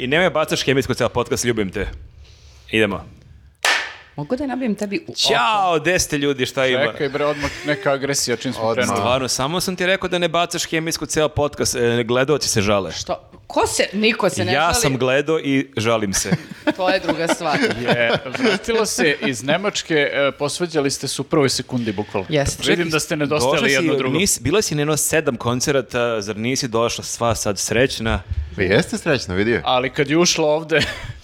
nemoj bacaš hemijsku ceo podcast, ljubim te. Idemo. Mogu da nabijem tebi u oko? Ćao, gde ste ljudi, šta ima? Čekaj bre, odmah neka agresija čim smo Odmah. krenuli. Stvarno, samo sam ti rekao da ne bacaš hemijsku ceo podcast, e, gledaoci se žale. Što? Ko se? Niko se ne ja žali. sam gledao i žalim se. To je druga stvar. E, vratila se iz Nemačke, e, posvađali ste se u prvoj sekundi bukvalno. Jeste. Vidim da ste Došla nedostajali si, jedno drugo. Nisi, bila si na jedno sedam koncerata, zar nisi došla sva sad srećna? Pa jeste srećno, vidio. Ali kad je ušla ovde,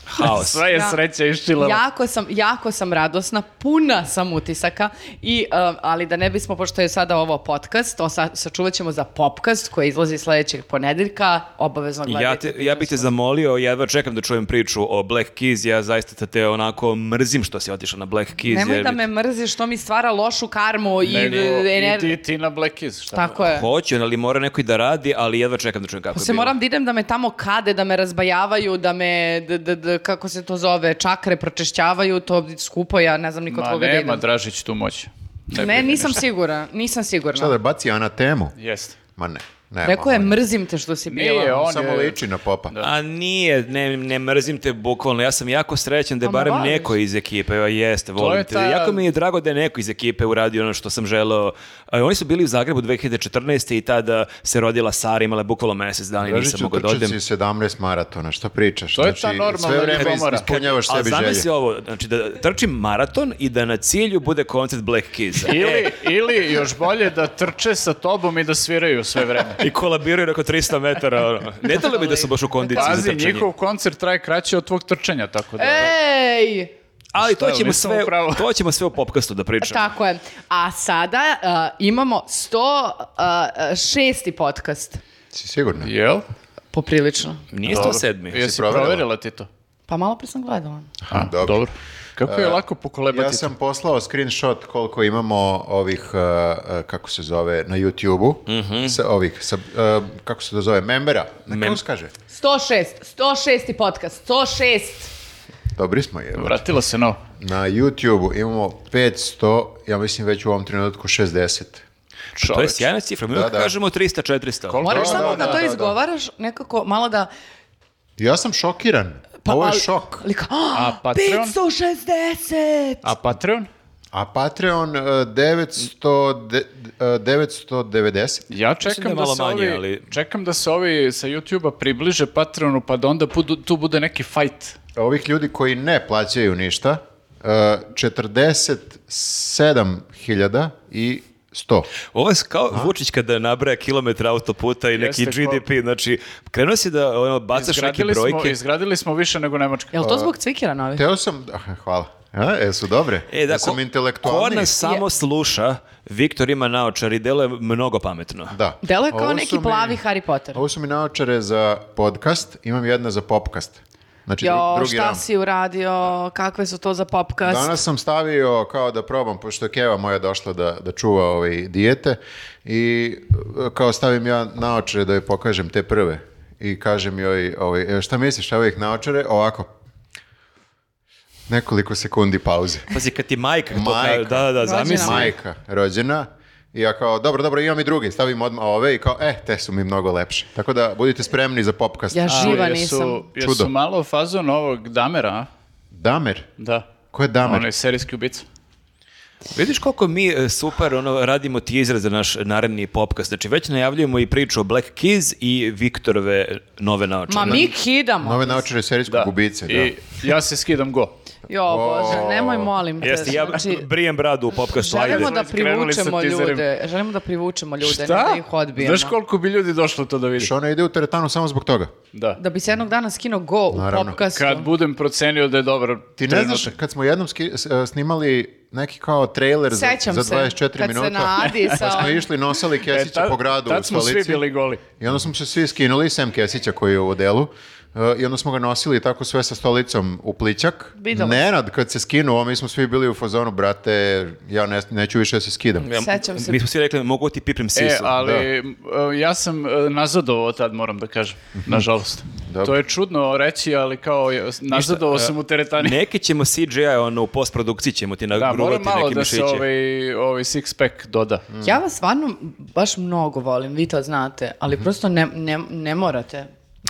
Haos. sva je Ja. sreća iščilala. jako, sam, jako sam radosna, puna sam utisaka, i, um, ali da ne bismo, pošto je sada ovo podcast, to sa, sačuvat ćemo za popkast koji izlazi sledećeg ponedeljka, obavezno gledajte. Ja, te, ja bih te zamolio, ja jedva čekam da čujem priču o Black Keys, ja zaista te onako mrzim što si otišao na Black Keys. Nemoj jer da bi- me mrziš, to mi stvara lošu karmu i Nego, i ener- ti, ti na Black Keys, šta? Tako je. Hoću, ali mora neko i da radi, ali jedva čekam da čujem kako je Pa Se bilo. moram da idem da me tamo kade, da me razbajavaju, da me, d, d, d, kako se to zove, čakre pročešćavaju, to skupo, ja ne znam ni kod Ma koga da idem. nema Dražić tu moć. Ne, nisam sigurna, nisam sigurna. Šta da ono, baci ona temu? Jeste. Ma ne, ne. Rekao je, ma, mrzim te što si Nije, bila. on Samo je... liči na popa. Da. A nije, ne, ne mrzim te bukvalno, ja sam jako srećan da je Pa me barem voliš. neko iz ekipe, evo, jeste, volim je te. ta- Jako mi je drago da je neko iz ekipe uradio ono što sam želeo. E, Oni su bili u Zagrebu 2014. i tada se rodila Sara, imala je bukvalno mesec dana i nisam Dražiću, mogao da odem. trčao si 17 maratona, šta pričaš? Znači, To je ta normalna sve vreme ljubomora. ispunjavaš A sebi želje. zamisli ovo, znači da trčim maraton i da na cilju bude koncert Black Keys. Ili, ili još bolje da trče sa tobom i da sviraju sve vreme. I kolabiraju oko 300 metara. Ono. Ne dalo bi da su baš u kondiciji za Pazi, trčanje. njihov koncert traje kraće od tvog trčanja, tako da... E. Ej! Ali Šta to je, ćemo, nisam sve, upravo. to ćemo sve u popkastu da pričamo. Tako je. A sada uh, imamo 106. podcast. Si sigurno? Jel? Poprilično. Nije to Dobro. sedmi. Jesi proverila? proverila ti to? Pa malo pre sam gledala. A, dobro. E, Kako je lako pokolebati Ja sam poslao screenshot koliko imamo ovih, uh, uh, kako se zove, na YouTube-u, sa ovih, sa, uh, kako se to zove, membera. Na Mhm. Mem- kako se kaže? 106. 106. podcast. 106. Dobri smo je. to? Vratila se novo. Na YouTube-u imamo 500, ja mislim već u ovom trenutku 60. To je Čoveč. sjajna cifra. Mi Da, uvijek da. kažemo 300, 400. Koliko? Moraš Da, samo da, kad da, to da, da. izgovaraš nekako malo da... pa Ja sam šokiran. Ovo je ali- šok. pa Ali kao, "Ah, A Patreon? 560! A Patreon? A Patreon uh, 900, de- uh, 990. da Ja je čekam da, malo se manje, ovi, ali- čekam da se ovi sa YouTube-a približe Patreonu, pa da onda budu- tu bude neki fight. Ovih ljudi koji ne plaćaju ništa, uh, 47.000 i 100. Ovo je kao Vučić kada nabraja kilometra autoputa i neki Jeste, ko- GDP, znači krenuo si da ono, bacaš neke Izgradili smo, brojke. izgradili smo više nego Nemačka. Jel pa- to zbog cvikira novi? Teo sam, aha, hvala. A, e, su dobre? E, da, ja sam ko, ko intelektualni. nas samo sluša, Viktor ima naočar i deluje mnogo pametno. Da. Delo je kao Ovo su neki mi- plavi Harry Potter. Ovo su mi naočare za podcast, imam jedna za popkast. Znači, dru- Jo, drugi šta ram. si uradio, kakve su to za popkast? Danas sam stavio kao da probam, pošto je Keva moja došla da, da čuva ovaj dijete i e, kao stavim ja naočare da joj pokažem te prve i kažem joj, ovaj, "E, šta misliš, evo ih naočare, ovako, nekoliko sekundi pauze. Pazi, kad ti majka, to Majka. kaže- da, da, Rođena. zamisli. Majka rođena i ja kao, dobro, dobro, imam i drugi, stavim odmah ove i kao, eh, te su mi mnogo lepše. Tako da budite spremni za popkast. Ja Ali živa jesu- nisam. Jesu Čudo. malo fazon ovog Damera, a? Damer? Da. Ko je Damer? On je serijski ubica. Vidiš koliko mi e, super ono, radimo teaser za naš naredni popkast. Znači, već najavljujemo i priču o Black Keys i Viktorove nove Ma naočare. mi kidamo. Nove naočare serijskog gubice, da. I ja se skidam go. Jo, Bože, nemoj, molim te. Jeste, ja Znači, brijem bradu u popkastu. ajde. želimo da Smo skrenuli sa privučemo tizerima. ljude. Želimo da privučemo ljude, ne da ih odbijemo. Znaš koliko bi ljudi došlo to da vidi? Što ona ide u teretanu samo zbog toga. Da. Da bi se jednog dana skino go u Naravno. popkastu. Kad budem procenio da je dobar Ti ne znaš, kad smo jednom ski- s- e, snimali neki kao trailer za, Sećam za se, 24 kad se minuta, nadi sa pa smo onim- išli, nosali E, kesiće tad- po gradu u Tad smo svi stolici bili goli. i onda smo se svi skinuli, sem kesića koji je u odelu, e, i onda smo ga nosili tako sve sa stolicom u pličak. Videla sam. Nenad, kad se skinuo, mi smo svi bili u fazonu, brate, ja ne, neću više da se skidam. Ja, Sećam se. Mi smo svi rekli, mogu ti piprim sisu. E, ali m, e, ja sam e, nazadovao tad, moram da kažem, nažalost. Mhm. Dobro. e, To je čudno reći, ali kao je, nazadovao sam u teretani. Neki ćemo CGI, ono, u postprodukciji ćemo ti Pa Da, moram nagruvati malo neke da mišiće. se ovaj, ovaj six pack doda. Mhm. Mm. Ja vas stvarno Mhm. baš mnogo volim, vi to znate, ali prosto ne, ne, ne morate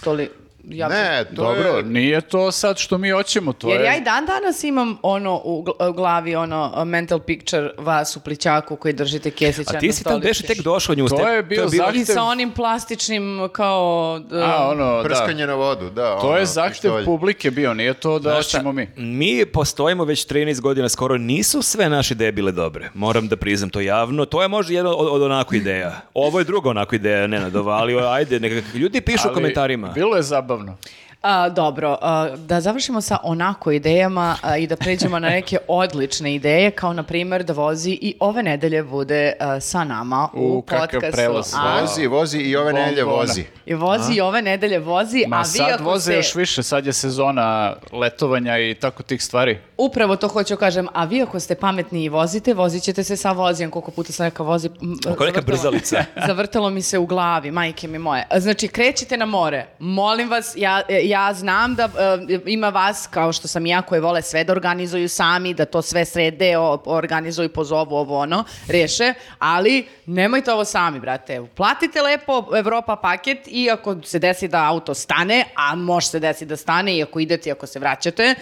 toli... ja Ne, to Dobro, je... nije to sad što mi hoćemo, to Jer je... ja i dan danas imam ono u gl- u glavi, ono uh, mental picture vas u plićaku koji držite kesića A ti na si tam deše stoličiš. tek došao nju. To ste- je bio bila- zahtev- I sa onim plastičnim kao... uh, A, ono, da. Prskanje na vodu, da. To ono, je zahtev pištolj. publike bio, nije to da Znaš šta, hoćemo mi. Mi postojimo već 13 godina, skoro nisu sve naše ideje bile dobre. Moram da priznam to javno. To je možda jedna od, od onako ideja. Ovo je druga onako ideja, Nenadova, ali ajde, nekako ljudi pišu u Ali komentarima. Bilo je zabavno. A, dobro, a, da završimo sa onako idejama a, i da pređemo na neke odlične ideje, kao na primjer da vozi i ove nedelje bude a, sa nama u, U, kakav podcastu. prelaz. A, Vozi, vozi i ove Bombona. nelje vozi. I vozi i ove nedelje vozi, Ma E, a vi sad ako voze ste... još više, sad je sezona letovanja i tako tih stvari. Upravo to hoću kažem, a vi ako ste pametni i vozite, vozit ćete se sa vozijem, koliko puta sam neka vozi... m, Ako neka zavrtalo- brzalica. zavrtalo mi se u glavi, majke mi moje. Znači, krećete na more, molim vas, ja, ja znam da e, ima vas, kao što sam i ja, koje vole sve da organizuju sami, da to sve srede, o- organizuju, pozovu, ovo ono, reše, ali nemojte ovo sami, brate. Platite lepo Evropa paket i ako se desi da auto stane, a može se desi da stane i ako idete i ako se vraćate,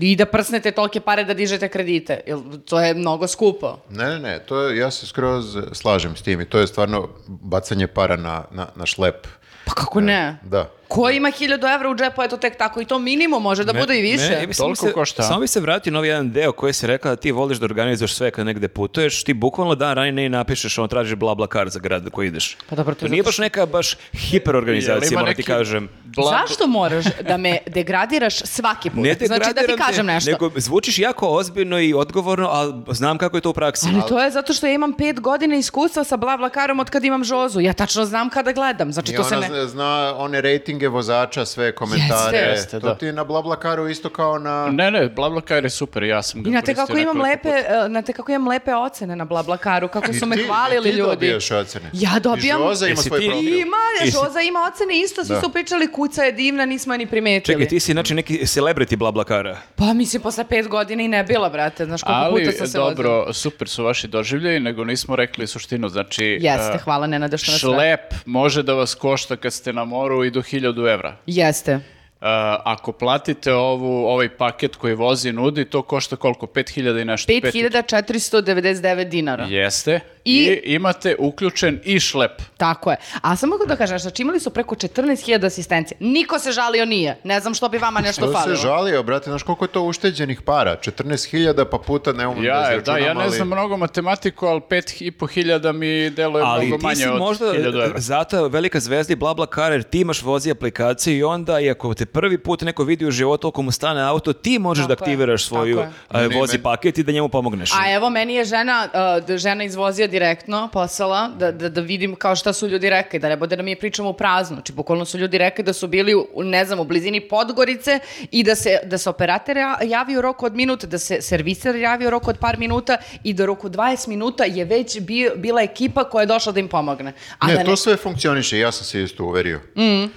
i da prsnete tolke pare da dižete kredite. Jer to je mnogo skupo. Ne, ne, ne, to je, ja se skroz slažem s tim i to je stvarno bacanje para na, na, na šlep. Pa kako ne? Da. Ko ima 1000 evra u džepu, eto tek tako i to minimum može da bude i više. Ne, ja bi samo Toliko se- košta. Samo bi se vratio na ovaj jedan deo koji si rekla da ti voliš da organizuješ sve kad negde putuješ, ti bukvalno dan ranije ne napišeš, on tražiš bla bla kar za grad na koji ideš. Pa dobro, to to je nije zato baš neka baš hiperorganizacija, Jel ima moram ti neki kažem. blag- Zašto moraš da me degradiraš svaki put? Ne znači da ti degradiram te, kažem nešto. Nego zvučiš jako ozbiljno i odgovorno, ali znam kako je to u praksi. Ali to je zato što ja imam pet godina iskustva sa blavlakarom od kad imam žozu. Ja tačno znam kada gledam. Znači I to se ona ne... zna- zna one rejtinge vozača, sve komentare. Jeste. Jeste, to da. ti je na Blablakaru isto kao na... Ne, ne, BlaBlaCar je super, ja sam ga Znate koristio kako imam nekoliko lepe, puta. e, znate kako imam lepe ocene na blablakaru, kako I su me ti- hvalili ti ljudi. dobijaš ocene. Ja dobijam. I Žoza ima Jesi svoj ti- profil. Ima, Jesi- žoza ima ocene isto, svi Da. su pričali kuca je divna, nismo je ni primetili. Čekaj, ti si znači neki celebrity blablakara. Pa mislim, posle pet godina i ne bila, brate, znaš koliko puta Ali, sam se dobro, vozila. super su vaši doživljaji, nego nismo rekli suštinu, znači... Jeste, eh, hvala Nenade što nas sve. Šlep može da vas košta kad ste na moru i do 1000 evra. Jeste. Uh, ako platite ovu, ovaj paket koji vozi nudi, to košta koliko? 5000 i nešto? 5499 dinara. 5000. Jeste. I... I- imate uključen i šlep. Tako je. A samo mogu da kažem, znači imali su preko 14.000 asistencije. Niko se žalio nije. Ne znam što ono. bi vama nešto To se falilo. žalio, brate, znaš koliko je to ušteđenih para? 14.000 pa puta ne umem da Ja, da, izračunam, ja ne ali- znam mnogo matematiku, ali 5500 mi deluje Ali mnogo ti si manje od možda e, 1000 evra. zato velika zvezda i BlaBlaCar jer ti imaš vozi aplikaciju i onda i ako te prvi put neko vidi u životu ako mu stane auto, ti možeš da Tako je, aktiviraš svoju tako e, Ne, vozi ne. paket i da njemu pomogneš. Znači- A evo, meni je žena, uh, d- žena izvozija direktno, poslala, da, da, da vidim kao šta su ljudi rekli, da ne bude da mi pričamo u prazno. Znači, bukvalno su ljudi rekli da su bili, u, ne znam, u blizini Podgorice i da se, da se operater ja- javi u roku od minuta, da se serviser javi u roku od par minuta i da u roku 20 minuta je već bi- bila ekipa koja je došla da im pomogne. A Ne, da Mm. to sve funkcioniše, ja sam se isto uverio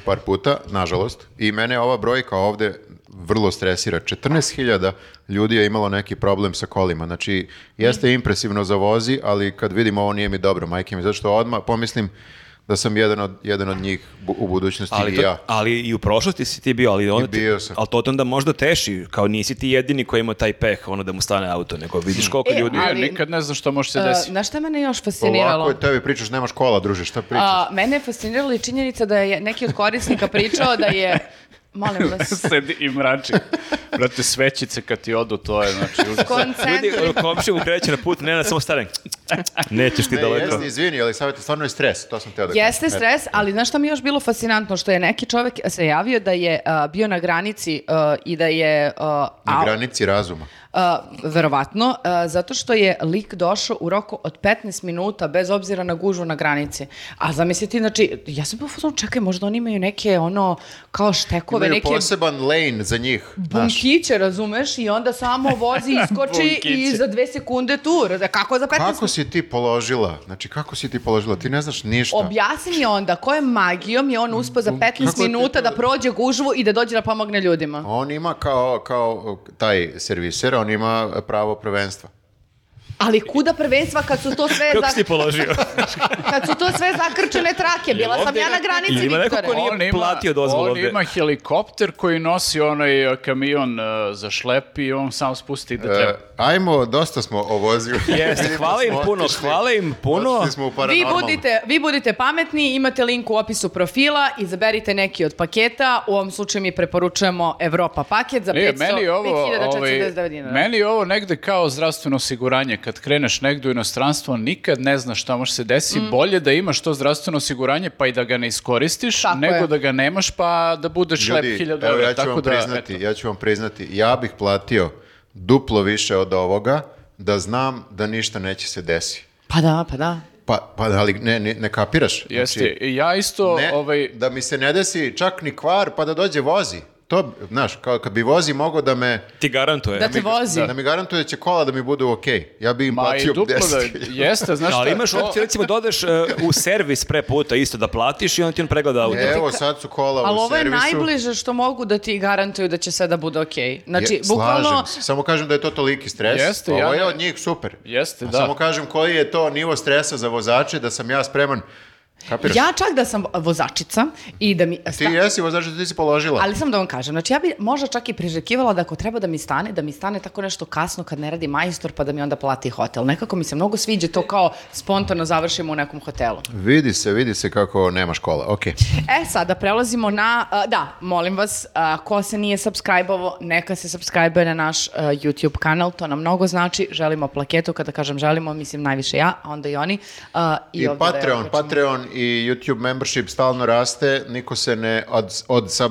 par puta, nažalost, i mene ova brojka ovde vrlo stresira. 14.000 ljudi je imalo neki problem sa kolima, znači Mm. jeste impresivno za vozi, ali kad vidim ovo nije mi dobro, majke mi, zato što odmah pomislim da sam jedan od, jedan od njih bu- u budućnosti ali, i to- ja. ali i u prošlosti si ti bio, ali onda ti- bio sam. ali to te onda možda teši, kao nisi ti jedini koji ima taj peh, ono da mu stane auto, nego vidiš koliko E, ljudi. Ja ali- nikad ne znam što može se Uh, desiti. Znaš šta je mene još fasciniralo? Ovako je tebi pričaš, nema škola, druže, šta pričaš? A, mene je fascinirala i činjenica da je neki od korisnika pričao da je... Molim vas. Sedi i mrači. Brate, svećice kad ti odu, to je, znači, užas. Koncentri... Ljudi, ono, komšija mu kreće na put, ne, ne, samo stane. Nećeš ti Ne, daleko. jeste, izvini, ali savjeti, stvarno je stres, to sam teo da Jeste kažem. stres, ali znaš šta mi je još bilo fascinantno? Što je neki čovek se javio da je a, bio na granici a, i da je... a, Na a- granici razuma. a, verovatno, a, zato što je lik došao u roku od 15 minuta bez obzira na gužu na granici. A zamisliti, znači, ja sam bio u fazonu, čekaj, možda oni imaju neke, ono, kao štekove, Imaju neke poseban lane za njih. znaš. bunkiće, razumeš, i onda samo vozi, iskoči i Bunkiće. za dve sekunde tu. Raz- Kako Pa za 15 Kako si ti položila? Znači, kako si ti položila? Ti ne znaš ništa. Objasni mi onda kojom magijom je on uspio za 15 Kako ti minuta to- da prođe gužvu i da dođe da pomogne ljudima. On ima kao, kao taj serviser, on ima pravo prvenstva. Ali kuda prvenstva kad su to sve Kako za- si ti položio? kad su to sve zakrčene trake, bila sam ovdje ja na neko- granici Ima neko Viktore. ko nije- platio dozvolu on ovde. ima helikopter koji nosi onaj e, kamion e, za šlep i on sam spusti da treba. E, ajmo, dosta smo o voziju. Jeste, hvala im Smo puno, otišli- hvala im puno. otišli smo u Vi paranormalno. budite, vi budite pametni, imate link u opisu profila, izaberite neki od paketa, u ovom slučaju mi preporučujemo Evropa paket za Nije, 500, E, meni je ovo, 5049 ovaj, dinara. meni je ovo negde kao zdravstveno osiguranje. Kad kreneš negde u inostranstvo, nikad ne znaš šta može se desi. Mm. Bolje da imaš to zdravstveno osiguranje pa i da ga ne iskoristiš, Tako nego je. da ga nemaš pa da budeš lep Ljudi, 1000 evo evra. ja ću Tako vam da, priznati, eto. ja ću vam priznati, ja bih platio duplo više od ovoga da znam da ništa neće se desiti. Pa da, pa da. Pa, pa ali ne, ne, ne kapiraš. Jeste, Znači, i ja isto, ne, ovaj, Da mi se ne desi čak ni kvar pa da dođe vozi. To, znaš, kao kad bi vozi mogao da me... Ti garantuje. Da te vozi. Da mi garantuje da će kola da mi budu okej. Ja bi im ma i platio duplo da 10.000. jeste, znaš Ali šta, imaš to- opciju, recimo, da odeš e, u servis pre puta isto da platiš i onda ti on pregleda auto. Evo, sad su kola u Ali ovo je servisu. najbliže što mogu da ti garantuju da će sve da bude okej. Znači, Je- bukvalno, slažem se. Samo kažem da je to toliki stres. Jeste, Ovo ja je ne- od njih super. Jeste, A da. Samo kažem koji je to nivo stresa za vozače da sam ja spreman. Kapiraš? ja čak da sam vozačica i da mi... Ti jesi vozač, ti si položila. Ali sam da vam kažem, znači ja bi možda čak i prižekivala da ako treba da mi stane, da mi stane tako nešto kasno kad ne radi majstor pa da mi onda plati hotel. Nekako mi se mnogo sviđa to kao spontano završimo u nekom hotelu. Vidi se, vidi se kako nema škola. Ok. E, sada prelazimo na, a, da, molim vas, a, ko se nije subscribe-ovo, neka se subscribe na naš a, YouTube kanal, to nam mnogo znači, želimo plaketu, kada kažem želimo, mislim najviše ja, a onda i oni. a, I, ovdje da je Patreon, okačimo. Patreon i YouTube membership stalno raste, niko se ne od,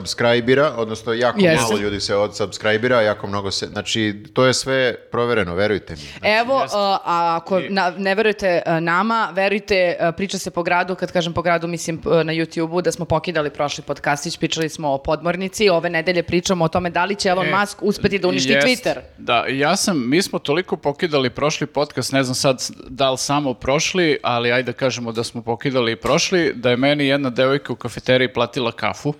odsubscribira, odnosno jako Jeste. malo ljudi se odsubscribira, jako mnogo se, znači to je sve provereno, verujte mi. Znači, Evo, a, a ako na- ne verujete a, nama, verujte, a, priča se po gradu, kad kažem po gradu, mislim p- na YouTube-u, da smo pokidali prošli podcastić, pričali smo o podmornici, ove nedelje pričamo o tome da li će Elon E, Musk uspeti da uništi jest. Twitter. Da, ja sam, mi smo toliko pokidali prošli podcast, ne znam sad da li samo prošli, ali ajde da kažemo da smo pokidali i prošli, da je meni jedna devojka u kafeteriji platila kafu.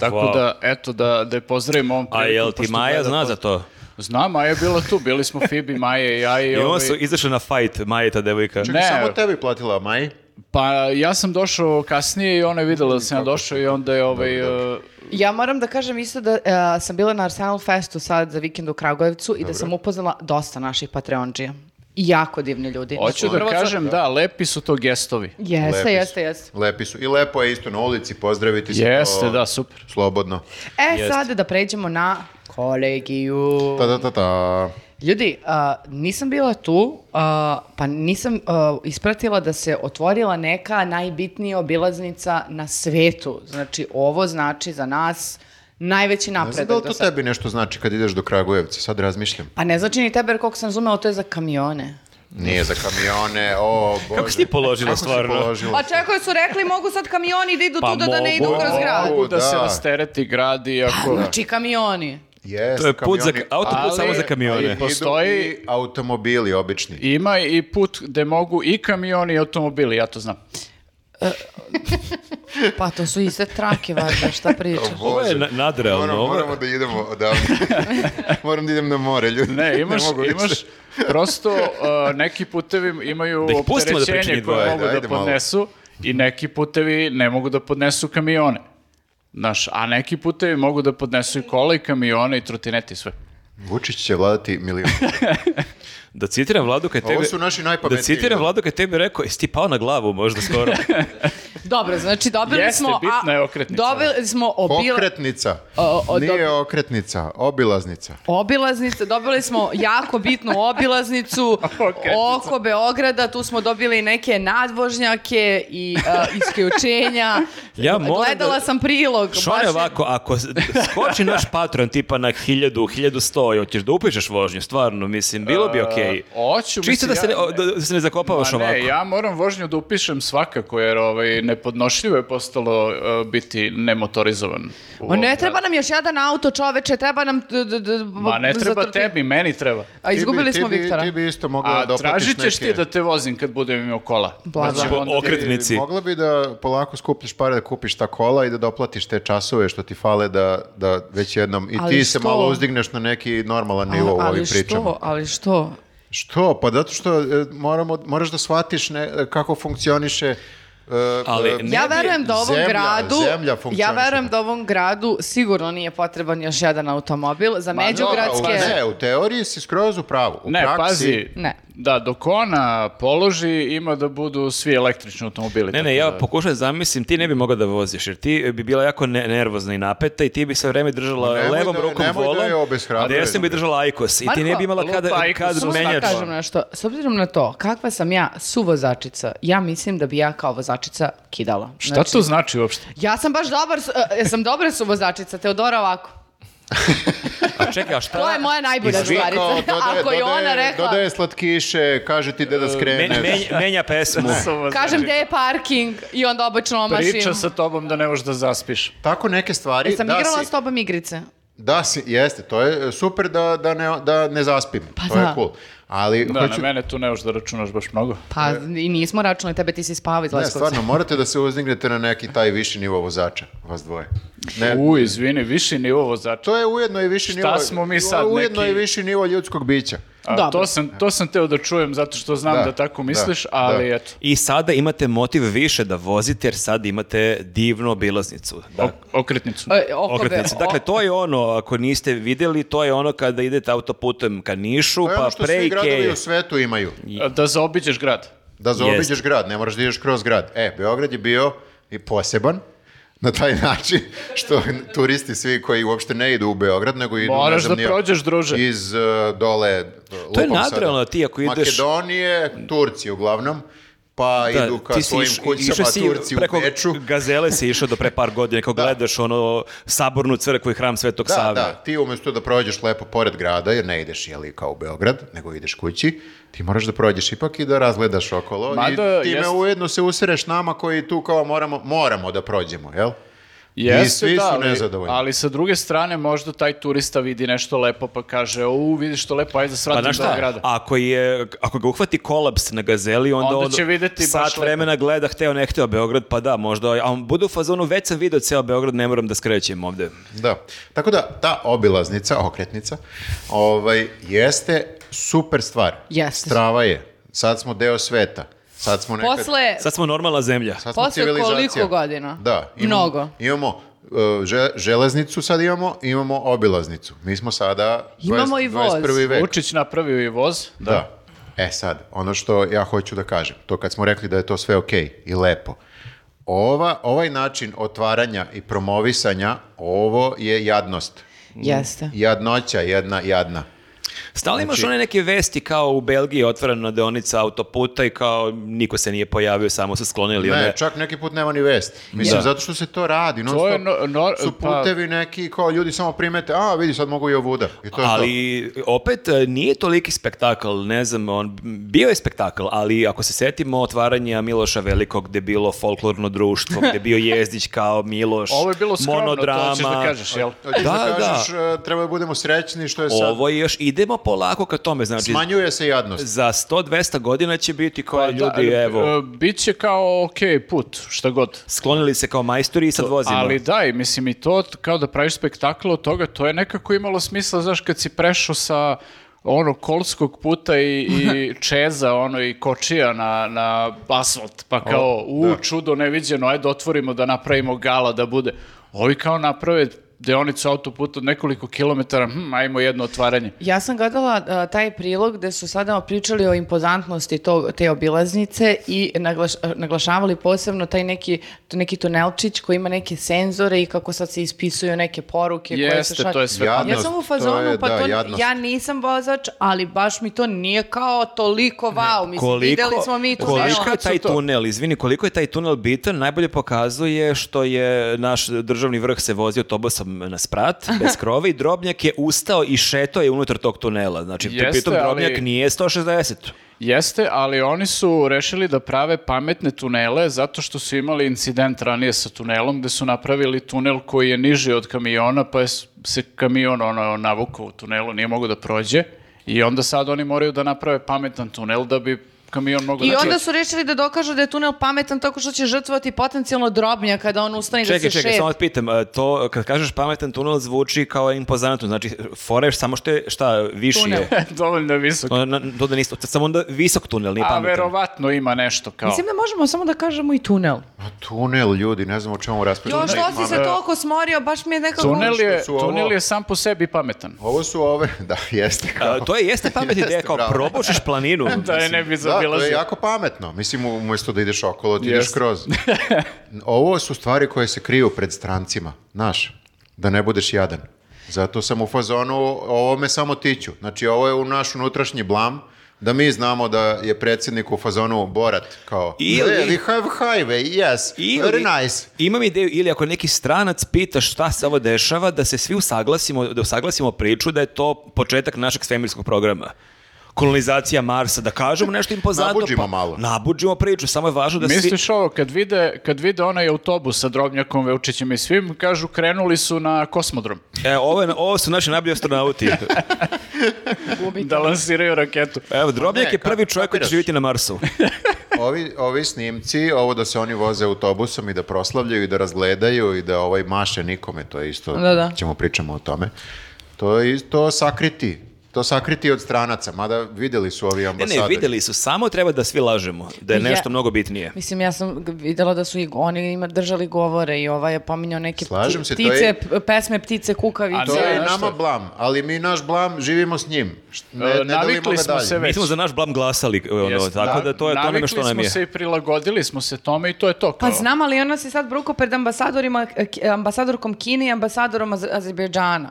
Tako Wow. da, eto, da, da je pozdravimo ovom A prilikom, jel ti pošto Maja gleda zna pod- za to? Zna, Maja je bila tu, bili smo Fibi, Maja i ja i I onda ovaj- su izašli na fight, Maja i ta devojka. Čekaj, Ne. samo tebi platila Maj. Pa ja sam došao kasnije i ona je videla da sam ja došao i onda je ovaj... e, Ja moram da kažem isto da e, sam bila na Arsenal Festu sad za vikend u Kragujevcu i da sam upoznala dosta naših Patreonđija. I Jako divni ljudi. e, Hoću da Prvo sam- kažem, da, lepi su to gestovi. Jeste, Lepi su. jeste, jeste. Lepi su. I lepo je isto na ulici pozdraviti se. Jeste, to da, super. Slobodno. E, Jeste. sad da pređemo na kolegiju. Ta, ta, ta, ta. Ljudi, a, nisam bila tu, a, pa nisam a, ispratila da se otvorila neka najbitnija obilaznica na svetu. Znači, ovo znači za nas najveći Ne znam da li napredak. to do sada. tebi nešto znači kad ideš do Kragujevca, sad razmišljam. Pa ne znači ni tebe, jer koliko sam razumela, to je za kamione. Nije za kamione, o bože. Kako si ti položila Kako si stvarno? položila? Pa čekaj, su rekli mogu sad kamioni da idu Pa tuda da ne idu mogu. kroz grad. Mogu da, se da. rastereti grad i ako... Znači kamioni. Jest, To je put za, kamioni- autoput ali- samo za kamione. Idu Postoji- i automobili obični. Ima i put gde mogu i kamioni i automobili, ja to znam. Pa to su iste trake, valjda, šta pričaš. Ovo je na- nadrealno, Moramo, ovo je- moramo da idemo odavde. Moram da idem na more, ljudi. Ne, imaš, mogu više. imaš prosto uh, neki putevi imaju Da ih pustimo da pričaju opterećenje njih koje dvoje, mogu ajde, da ajde malo. podnesu i neki putevi ne mogu da podnesu kamione. Znaš, a neki putevi mogu da podnesu i kola i kamione i trotinete i sve. Vučić će vladati milion. Da citiram Vladu kad Ovo tebi... su naši Da najpametniji. citiram ljudi. Vladu kad tebi rekao, jesi ti pao na glavu možda skoro? Dobro, znači dobili Jeste, smo... a- bitna je okretnica. Dobili smo obila... Okretnica. O, o, Nije dobro. okretnica, obilaznica. Obilaznice, dobili smo jako bitnu obilaznicu oko Beograda, tu smo dobili neke nadvožnjake i a, isključenja. Ja moram Gledala da- sam prilog. baš Šone je- ovako, ako s- skoči naš patron tipa na 1000, 1100, hoćeš da upišeš vožnju, stvarno, mislim, bilo bi okej. A, Uh, hoću, Čisto mislim, da se ne, ja- o, da, da se ne zakopavaš Ma ne, ovako. ja moram vožnju da upišem svakako, jer ovaj, nepodnošljivo je postalo uh, biti nemotorizovan. u Ma ne ovom treba nam još jedan auto, čoveče, treba nam... d- d- d- Ma ne treba zatrpi- tebi, meni treba. A izgubili ti bi, smo ti bi- Viktora. Ti bi isto mogla A da oplatiš tražit ćeš ti neke- da te vozim kad budem imao kola. Bla, Pa ćemo bla. onda- Okretnici. Mogla bi da polako skupljaš pare da kupiš ta kola i da doplatiš te časove što ti fale da, da već jednom i Ali ti se što? malo uzdigneš na neki normalan nivo u ovim ali pričama. što, ali što? Što? Pa zato što e, moramo, moraš da shvatiš ne, kako funkcioniše e, Ali e, ne Ja bi- verujem da ovom zemlja- gradu, zemlja ja funkcioniše. verujem da ovom gradu sigurno nije potreban još jedan automobil za Ma međugradske. dobro, u- Ne, u teoriji si skroz u pravu. U Ne, praksi, pazi, Ne. da dok ona položi ima da budu svi električni automobili. Ne, tako ne, ja da- pokušam da zamislim, ti ne bi mogao da voziš, jer ti bi bila jako ne- nervozna i napeta i ti bi sve vreme držala Pa Nemoj da- levom rukom nemoj da volom, je a obeshrabruješ. desnom bi držala ajkos i ti ne bi imala Marko, kada, lupa kad ajkos, pa Samo da menjač. kažem nešto. S obzirom na to, kakva sam ja suvozačica, ja mislim da bi ja kao vozačica kidala. Šta Znači, to znači uopšte? Ja sam baš dobar, s- e, ja sam dobra suvozačica, Teodora ovako. A čekaj, a šta? To je moja najbolja Svi stvar. kao dodaje- Ako je ona dodaje- rekla, Dodaje slatkiše, kaže ti gde E, da Men- skreneš. men- menja pesmu. kažem gde je parking i onda obočno omašim. Priča sa tobom da ne možeš da zaspiš. Tako neke stvari. Sam da igrala si- s tobom igrice. Da, si, jeste, to je e, super da, da, ne, da ne zaspim. Pa to da. je cool. Ali Da, hoću... na mene tu ne možeš da računaš baš mnogo. Pa i nismo računali tebe, ti si spavao iz Ne, Leskovca. stvarno, morate da se uzdignete na neki taj viši nivo vozača, vas dvoje. Ne, U, izvini, viši nivo vozača. to je ujedno i viši Šta nivo... smo mi sad, Ujedno neki- i viši nivo ljudskog bića. A, Dobro. to, sam, to sam teo da čujem zato što znam da, Da, tako da, misliš, ali da. eto. I sada imate motiv više da vozite, jer sad imate divnu obilaznicu. Da. Ok- okretnicu. E, oko- Okretnice. o- Dakle, to je ono, ako niste vidjeli, to je ono kada idete autoputem ka Nišu, To je ono pa što pre svi gradovi Ikeje. u svetu imaju. Da zaobiđeš grad. Da zaobiđeš Jeste. grad, ne moraš da ideš kroz grad. E, Beograd je bio i poseban na taj način što turisti svi koji uopšte ne idu u Beograd, nego idu Moraš ne znam, da nije- prođeš, druže. iz e, dole To je lupam sada, nadrealno, ti ako ideš- Makedonije, Turci uglavnom, pa Da, idu ka ti si svojim iš- išao kućama si Turci preko u Beču. Gazele si išao do pre par godina, kao gledaš ono sabornu crkvu i hram Svetog Da, Save. da, ti umjesto da prođeš lepo pored grada, jer ne ideš jeli kao u Beograd, nego ideš kući, ti moraš da prođeš ipak i da razgledaš okolo Mada, i time jest- ujedno se usireš nama koji tu kao moramo, moramo da prođemo, jel? I Jeste, svi da, su ali- nezadovoljni. Ali sa druge strane, možda taj turista vidi nešto lepo pa kaže, u, vidiš to lepo, ajde da Pa svratim znaš do šta, grada. ako, je, ako ga uhvati kolaps na gazeli, onda, Onda on će videti baš sat lepo. vremena gleda, hteo ne hteo Beograd, pa da, možda, a on bude u fazonu, već sam video ceo Beograd, ne moram da skrećem ovde. Da. Tako da, ta obilaznica, okretnica, ovaj, jeste super stvar. Jeste. Strava je. Sad smo deo sveta. Sad smo nekad... Posle, Sad smo normalna zemlja. sad smo posle civilizacija. koliko godina? Da. Mnogo. Imamo e, že- železnicu sad imamo, imamo obilaznicu. Mi smo sada... Imamo 20 i voz. 21. vek. Vučić napravio i voz. Da. E sad, ono što ja hoću da kažem, to kad smo rekli da je to sve ok i lepo, ova, ovaj način otvaranja i promovisanja, ovo je jadnost. Jeste. Jadnoća, jedna jadna. Stalno Znači- imaš one neke vesti kao u Belgiji je otvorena deonica autoputa i kao niko se nije pojavio, samo su sklonili. Ne, one- čak neki put nema ni vest. Mislim, Da. zato što se to radi. Non To je stop no- no- su pa- putevi neki, kao ljudi samo primete, a vidi, sad mogu i ovuda. I to je to. ali opet e, nije toliki spektakl, ne znam, on bio je spektakl, ali ako se setimo otvaranja Miloša Velikog gde je bilo folklorno društvo, gde je bio Jezdić kao Miloš, Ovo je bilo skromno, monodrama. to ćeš da kažeš, jel? Hoćeš Da, da da. kažeš, e, treba da budemo srećni što je sad. Ovo je još, idemo polako ka tome, znači Smanjuje se jadnost. za 100-200 godina će biti kao Pa, ljudi, Pa Da, evo, e, Biće kao ok put, šta god. sklonili se kao majstori i sad vozimo. Ali da, i mislim i to t- kao da praviš spektakl od toga, to je nekako imalo smisla, znaš, kad si prešao sa ono kolskog puta i, i čeza ono i kočija na, na asfalt, pa kao u čudo neviđeno, ajde otvorimo da napravimo gala da bude. Ovi kao naprave deonicu autoputa od nekoliko kilometara, hm, ajmo jedno otvaranje. Ja sam gledala a, taj prilog gde su sada pričali o impozantnosti tog, te obilaznice i naglaš- a, naglašavali posebno taj neki, t- neki tunelčić koji ima neke senzore i kako sad se ispisuju neke poruke. koje se Jeste, šalju. to je sve Ja- Ja Jadnost, sam u to fazonu, je, pa da, to, jadnost. ja nisam vozač, ali baš mi to nije kao toliko wow, mislim, videli smo mi tu koliko tunel. je taj to. tunel, izvini, koliko je taj tunel bitan, najbolje pokazuje što je naš državni vrh se vozio autobusom na sprat, bez krova i Drobnjak je ustao i šetao je unutar tog tunela. Znači, Jeste, pritom ali- Drobnjak nije 160. Jeste, ali oni su rešili da prave pametne tunele zato što su imali incident ranije sa tunelom gde su napravili tunel koji je niži od kamiona pa je s- se kamion ono, navukao u tunelu, nije mogao da prođe i onda sad oni moraju da naprave pametan tunel da bi kamion mogu I da... onda su rešili da dokažu da je tunel pametan tako što će žrtvovati potencijalno drobnja kada on ustane da Čekaj, se čekaj, šeta. samo da pitam, a, to kad kažeš pametan tunel zvuči kao impozantno, znači foreš samo što je, šta, viši Tunel. je. E, Dovoljno je visok. To, na- to da nisi, samo onda visok tunel, nije A pametan. verovatno ima nešto kao... Mislim da možemo samo da kažemo i tunel. A Pa tunel, ljudi, ne znam o čemu raspravljamo. Jo, što si se ma- toliko smorio, baš mi je nekako... Tunel je, Što su ovo? tunel je sam po sebi pametan. Ovo su ove, da, jeste kao. A, to je jeste pametna ideja, Jeste, kao bravo. probušiš planinu. Da je ne bi Da, to je zabilazio. jako pametno. Mislim, umjesto da ideš okolo, ti ideš Jeste. kroz. Ovo su stvari koje se kriju pred strancima, znaš, da ne budeš jadan. Zato sam u fazonu, ovo me samo tiću. Znači, ovo je u naš unutrašnji blam, da mi znamo da je predsjednik u fazonu Borat, kao, Ili- "Hey, we have highway, yes, very nice. Imam ideju, ili ako neki stranac pita šta se ovo dešava, da se svi usaglasimo, da usaglasimo priču da je to početak našeg svemirskog programa. Kolonizacija Marsa, da kažemo nešto impozantno. Nabuđimo pa- malo. Nabuđimo priču, samo je važno da svi... Misliš ovo, kad vide, kad vide onaj autobus sa drobnjakom, Veučićem i svim, kažu krenuli su na kosmodrom E, ovo, je- ovo su naši najbolji astronauti. da lansiraju raketu. Evo, Drobnjak Ne, je ka- prvi čovjek koji će kapiraš. živjeti na Marsu. Ovi, ovi snimci, ovo da se oni voze autobusom i da proslavljaju i da razgledaju i da ovaj maše nikome, to je isto, Da, da. ćemo pričamo o tome. To je isto sakriti, to sakriti od stranaca, mada vidjeli su E, ovi Ne, ambasadori. ne, vidjeli su, samo treba da svi lažemo, da je Ja- nešto mnogo bitnije. Mislim, ja sam g- videla da su i oni ima držali govore i ovaj je pominjao neke Slažem pti- se, to ptice, je- p- pesme ptice, kukavice. A To je Znaš nama šta? blam, ali mi naš blam živimo s njim. Št- Ne, E, ne delimo navikli ga smo dalje. se već. Mi smo za naš blam glasali, ono, Jeste, tako da to je to navikli ono što nam je. smo se i prilagodili smo se tome i to je to. Kao. Pa znam, ali ona se sad bruko pred ambasadorima, e, ki- ambasadorkom Kine i ambasadorom Az- Azerbejdžana.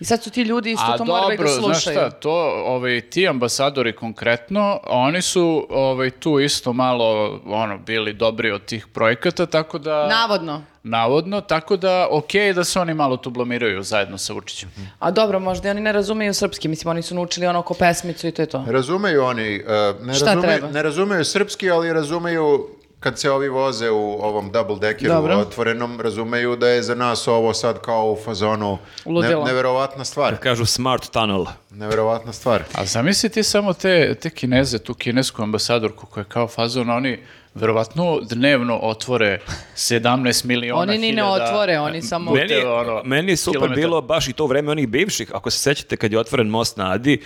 I sad su ti ljudi isto A to morali da dobro, slušaju. znaš šta, to, ovaj, ti ambasadori konkretno, oni su ovaj, tu isto malo ono, bili dobri od tih projekata, tako da... Navodno. Navodno, tako da okej je da se oni malo tu blamiraju zajedno sa Vučićem. A dobro, možda i oni ne razumeju srpski, mislim, oni su naučili ono oko pesmicu i to je to. Razumeju oni, uh, ne, Šta razumeju, treba? ne razumeju srpski, ali razumeju kad se ovi voze u ovom double deckeru Dobro. otvorenom, razumeju da je za nas ovo sad kao u fazonu ne, Ludilo. neverovatna stvar. Kažu smart tunnel. Neverovatna stvar. A zamisli ti samo te, te kineze, tu kinesku ambasadorku koja je kao fazon, oni verovatno dnevno otvore 17 miliona Oni ni ne hiljada- otvore, oni samo... Ne. Meni je, ono, meni je super kilometar. bilo baš i to vreme onih bivših. Ako se sećate kad je otvoren most na Adi,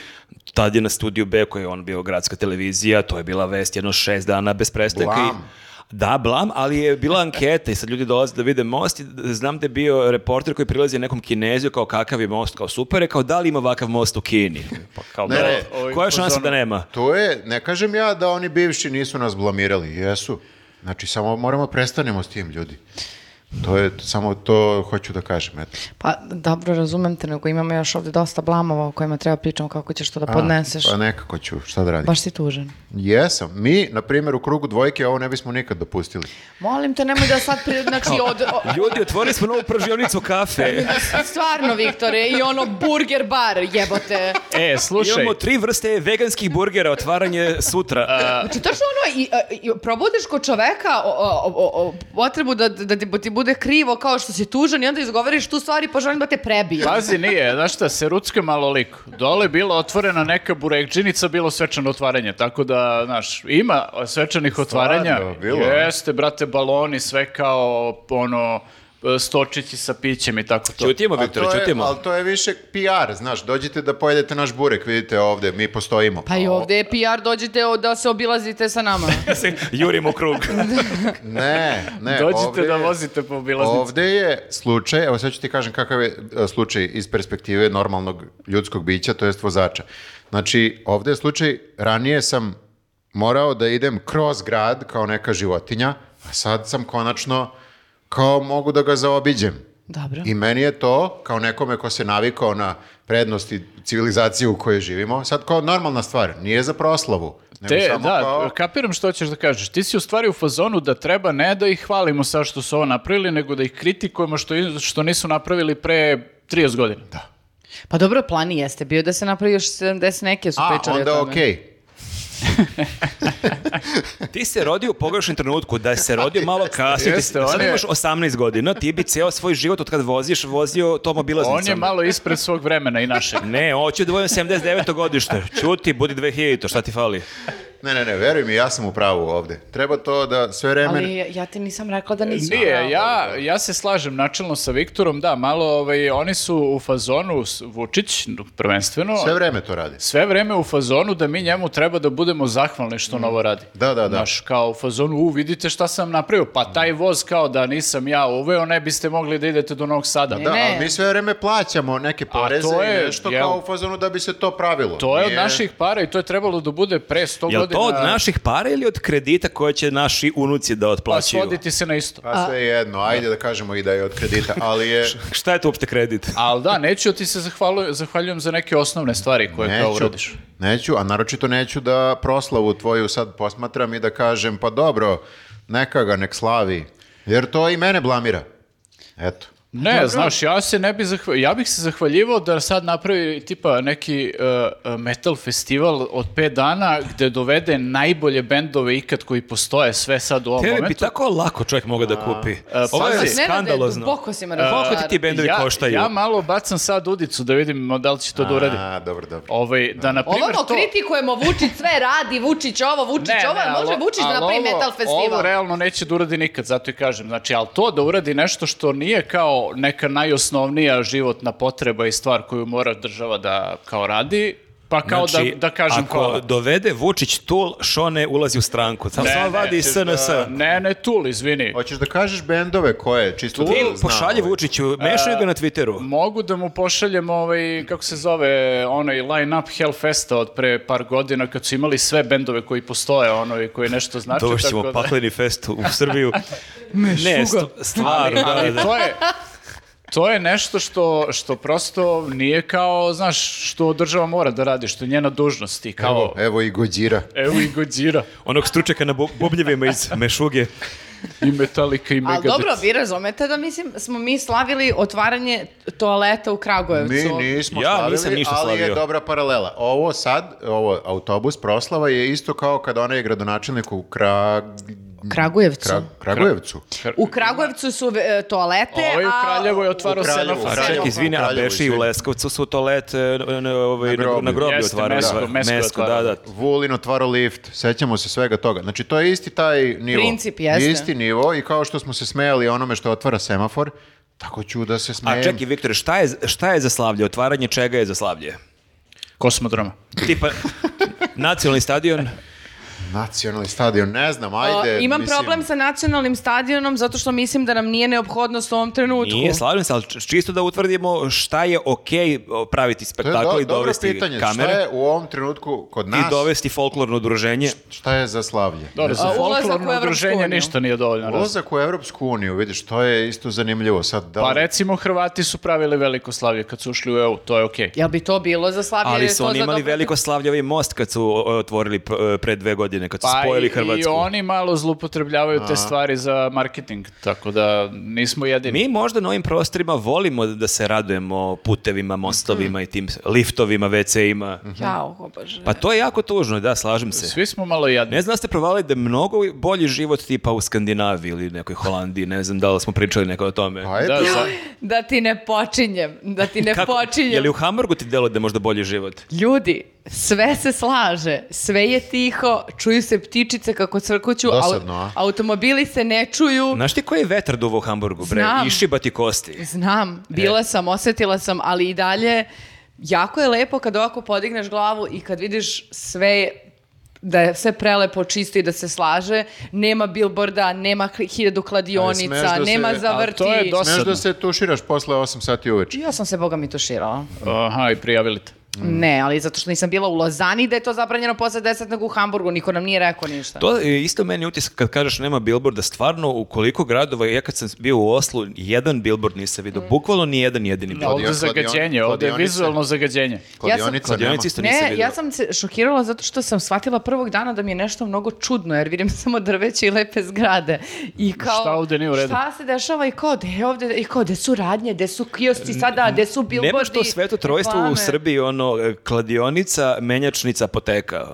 tad je na studiju B koji je on bio gradska televizija, to je bila vest jedno šest dana bez prestanka. i- Blam. Da, blam, ali je bila anketa i sad ljudi dolaze da vide most i znam da je bio reporter koji prilazi nekom kineziju kao kakav je most, kao super, je, kao da li ima ovakav most u Kini? Pa kao, Ne, da, ne, ovi koja je šansa pozorno- da nema? To je, ne kažem ja da oni bivši nisu nas blamirali, jesu. Znači, samo moramo prestanemo s tim, ljudi. To je, samo to hoću da kažem, eto. Pa dobro, razumem te, nego imamo još ovdje dosta blamova o kojima treba pričamo kako ćeš to da A, podneseš. Pa nekako ću, šta da radim. Baš si tužen. Jesam, mi, na primjer, u krugu dvojke ovo ne bismo nikad dopustili. Molim te, nemoj da sad pri... Znači, od... o- Ljudi, otvorili smo novu pržionicu kafe. Stvarno, Viktore, i ono burger bar, jebote. E, slušaj, Imamo tri vrste veganskih burgera, otvaranje sutra. Znači, to što ono, i, i probudiš kod čoveka o, o- o- o- potrebu da, da ti- ti bude krivo kao što si tužan i onda izgovoriš tu stvari pa želim da te prebije. Pazi, nije, znaš šta, se rucka malo lik. Dole je bila otvorena neka burekđinica, bilo svečano otvaranje, tako da, znaš, ima svečanih otvaranja. bilo? Jeste, brate, baloni, sve kao, ono, stočići sa pićem i tako to. Ćutimo, Ali Viktor, to je, ćutimo. ali to je više PR, znaš, dođite da pojedete naš burek, vidite ovdje, mi postojimo. Pa i ovdje je PR, dođite o- da se obilazite sa nama. se jurimo u krug. Ne, ne. Dođite ovdje da je- vozite po obilaznici. Ovdje je slučaj, evo sad ću ti kažem kakav je e, slučaj iz perspektive normalnog ljudskog bića, to jest vozača. Znači, ovdje je slučaj, ranije sam morao da idem kroz grad kao neka životinja, a sad sam konačno kao mogu da ga zaobiđem. Dobro. I meni je to, kao nekome ko se navikao na prednosti civilizacije u kojoj živimo, sad kao normalna stvar, nije za proslavu. nego Te, samo da, kao- kapiram što hoćeš da kažeš. Ti si u stvari u fazonu da treba ne da ih hvalimo sa što su ovo napravili, nego da ih kritikujemo što, što nisu napravili pre 30 godina. Da. Pa dobro, plan i jeste bio da se napravi još 70 neke su A, pričali o onda tome. okej. Ti se rodio u pogrešnom trenutku, da si se rodio malo kasnije, ti Jeste, sad on je- imaš 18 godina, ti bi ceo svoj život od kad voziš, vozio tom obilaznicom. On je malo ispred svog vremena i našeg. Ne, hoću da budem 79. godište. Ćuti, budi 2000, šta ti fali? Ne, ne, ne, veruj mi, ja sam u pravu ovde. Treba to da sve vreme... Ali ja ti nisam rekla da nisam. Nije, ja, ja se slažem načelno sa Viktorom, da, malo ovaj, oni su u fazonu, s- Vučić prvenstveno, Sve vreme to radi. sve vreme u fazonu da mi njemu treba da budemo zahvalni što on ovo radi. Mm. Da, da, da. Znaš, kao u fazonu, u, vidite šta sam napravio, pa taj voz kao da nisam ja uveo, ne biste mogli da idete do Novog Sada. Da, ne. ali mi sve vreme plaćamo neke poreze to je, i nešto jel? kao u fazonu da bi se to pravilo. To je od Nije- naših para i to je trebalo da bude pre 100 Jel godina. to od naših para ili od kredita koje će naši unuci da Pa otplaćaju? svoditi se na isto. Pa sve je jedno, ajde da kažemo i da je od kredita, ali je... Šta je to uopšte kredit? Ali da, neću ti se zahvalu, zahvaljujem za neke osnovne stvari koje kao uradiš. neću, a naročito neću da proslavu tvoju sad posmatram i da kažem, pa dobro, neka ga nek slavi, jer to i mene blamira. Eto. Ne, znaš, ja se ne bi zahva- ja bih se zahvaljivao da sad napravi tipa neki uh, uh, metal festival od 5 dana gde dovede najbolje bendove ikad koji postoje sve sad u ovom Tebi bi momentu. tako lako čovjek mogao da kupi. A, e, Ovo je pazi. skandalozno. Boko si me Koliko ti ti razočarao. bendovi ja, koštaju? ja malo bacam sad udicu da vidim da li će to da uradi. A, dobro, dobro. Ovaj, da, na primjer, Ovamo to... Ono kritikujemo, Vučić sve radi, Vučić ovo, Vučić ovo, ali Znači, može o- Vučić da ali napravi ovo- metal festival. Ovo realno neće da uradi nikad, zato i kažem. Znači, ali to da uradi nešto što nije kao neka najosnovnija životna potreba i stvar koju mora država da kao radi, pa kao Znači, da, da kažem ako kao... dovede Vučić tul, Šone ulazi u stranku. Samo Ne, samo ne, vadi iz ćeš da- SNS. Ne, ne, Tul, izvini. Hoćeš da kažeš bendove koje, čisto da Ti znam, pošalji ovaj. Vučiću, mešaju ga na Twitteru. Mogu da mu pošaljem ovaj, kako se zove, onaj line-up Hellfesta od pre par godina kad su imali sve bendove koji postoje, ono i koji nešto znači. Dovošćemo tako da- pakleni fest u Srbiju. ne, st- stvarno, da, Ali da. to je... To je nešto što, što prosto nije kao, znaš, što država mora da radi, što je njena dužnost i Evo, kao, evo i Gođira. evo i Godzilla, Onog stručaka na bu- bubljevima iz Mešuge. i Metallica, i Ali Megadeth. dobro, vi razumete da mislim, smo mi slavili otvaranje toaleta u Kragujevcu. Mi nismo Ja slavili, nisam ništa ali je slavio. dobra paralela. Ovo sad, ovo autobus proslava je isto kao kad onaj gradonačelnik u Krag... Kragujevcu. Krag... Kragujevcu. U Kragujevcu su e, toalete, Ovo je u a- Kraljevo je otvarao U Kraljevu, Senofa. A Sad je ček, u izvini, a Kraljevu, Beši i u izvini. Leskovcu su toalet e, na, na, ovaj, Na na, na groblju. groblju Jeste, otvaraju. Mesko, da. Mesko je Mesko, da, otvarao. da. Vulin otvaro lift, sećamo se svega toga. Znači, to je isti taj nivo. Princip, jeste. Isti nivo i kao što smo se smejali onome što otvara semafor, tako ću da se smejem. A čekaj, Viktore, šta je, šta je za slavlje? Otvaranje čega je za slavlje? Kosmodroma. Tipa, nacionalni stadion, Nacionalni stadion, ne znam, ajde. O, imam mislim, problem sa nacionalnim stadionom zato što mislim da nam nije neophodnost u ovom trenutku. Nije slavljen se, ali č- čisto da utvrdimo šta je okej praviti To je do- spektakl i dobro dovesti pitanje. kamere Šta je u ovom trenutku kod nas, i dovesti folklorno udruženje. šta je za slavlje? Dobro, za A ulazak u folklorno Evropsku udruženje uniju? ništa nije dovoljno. razlog. Ulazak u Evropsku uniju, vidiš, to je isto zanimljivo. Sad, da, Pa li- recimo Hrvati su pravili veliko slavlje kad su ušli u EU, to je okej. Jel bi to bilo za slavlje? Ali ili je su to oni za imali dobro- veliko slavlje ovaj most kad su o, otvorili p- pre dve godine, kad su Pa spojili i, i Hrvatsku. oni malo zloupotrebljavaju te stvari za marketing, tako da nismo jedini. Mi možda na ovim prostorima volimo da se radujemo putevima, mostovima i tim liftovima, WC-ima. Jao, o bože. Pa to je jako tužno, da, slažem se. Svi smo malo jadni. Ne znam da ste provali da je mnogo bolji život tipa u Skandinaviji ili nekoj Holandiji, ne znam da li smo pričali neko o tome. Pa, eto, Da, za- Da ti ne počinjem, da ti ne počinjem. Je li u Hamburgu ti delo da je možda bolji život? Ljudi, sve se slaže, sve je tiho, čuju se ptičice kako cvrkuću, au- Dosadno, a? automobili se ne čuju. Znaš ti koji je vetar duvo u Hamburgu, bre? Znam. Išiba ti kosti. Znam, bila E. sam, osjetila sam, ali i dalje jako je lepo kad ovako podigneš glavu i kad vidiš sve da je sve prelepo čisto i da se slaže, nema billboarda, nema k- hiljadu Ali smeš kladionica, da se- nema ali zavrti. to je dosta- Smeš da se tuširaš posle 8 sati uveče. Ja sam se, boga mi, tuširala. Aha, i prijavili te. Ne, ali zato što nisam bila u Lozani da je to zabranjeno posle 10 nego u Hamburgu, niko nam nije rekao ništa. To je isto meni utisak kad kažeš nema billboarda, stvarno u koliko gradova, ja kad sam bio u Oslu, jedan billboard nisam Mm. vidio, bukvalno ni jedan jedini billboard. Ovdje je zagađenje, ovdje je kladionice. vizualno zagađenje. Kladionica Kladionica nema. Kladionici isto nisam Ne, vidio. ja sam se šokirala zato što sam shvatila prvog dana da mi je nešto mnogo čudno, jer vidim samo drveće i lepe zgrade. I kao, Šta ovde nije u redu? Šta se dešava i kao, gde je ovde, i kao, gde su radnje, gde su kiosci sada, gde su bilbordi? Nemaš to sveto trojstvo u reklame? Srbiji, ono, e, kladionica, menjačnica, apoteka.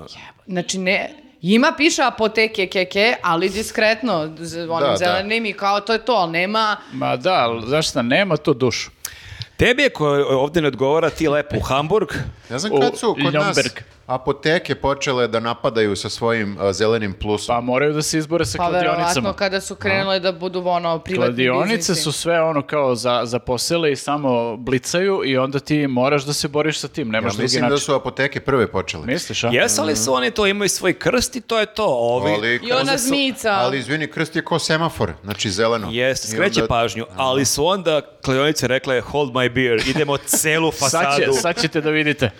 Znači, ne, ima piše apoteke keke, ali diskretno, z- onim Da, da. zelenim i kao to je to, ali nema... pa Ma da, ali znaš šta, nema to dušu. Tebi je ko ovdje ne e, odgovara, ti lepo u Hamburg, Ne znam U kad su kod nas... Ljomberg. apoteke počele da napadaju sa svojim a, zelenim plusom. Pa moraju da se izbore sa Pa verovatno kladionicama. kada su krenule da budu ono privatni Kladionice biznisi. su sve ono kao za, za posele i samo blicaju i onda ti moraš da se boriš sa tim, Ja nemaš drugi mislim način. da su apoteke prve počele. Misliš, a? Jesu ali su oni to imaju svoj krst i to je to. Ovi... Ali, I ona zmica. ali izvini, krst je ko semafor, znači zeleno. Jeste, I skreće pa- onda- pažnju, ali su onda kladionice rekle hold my beer, idemo celu Sad, će, fasadu. sad ćete da vidite.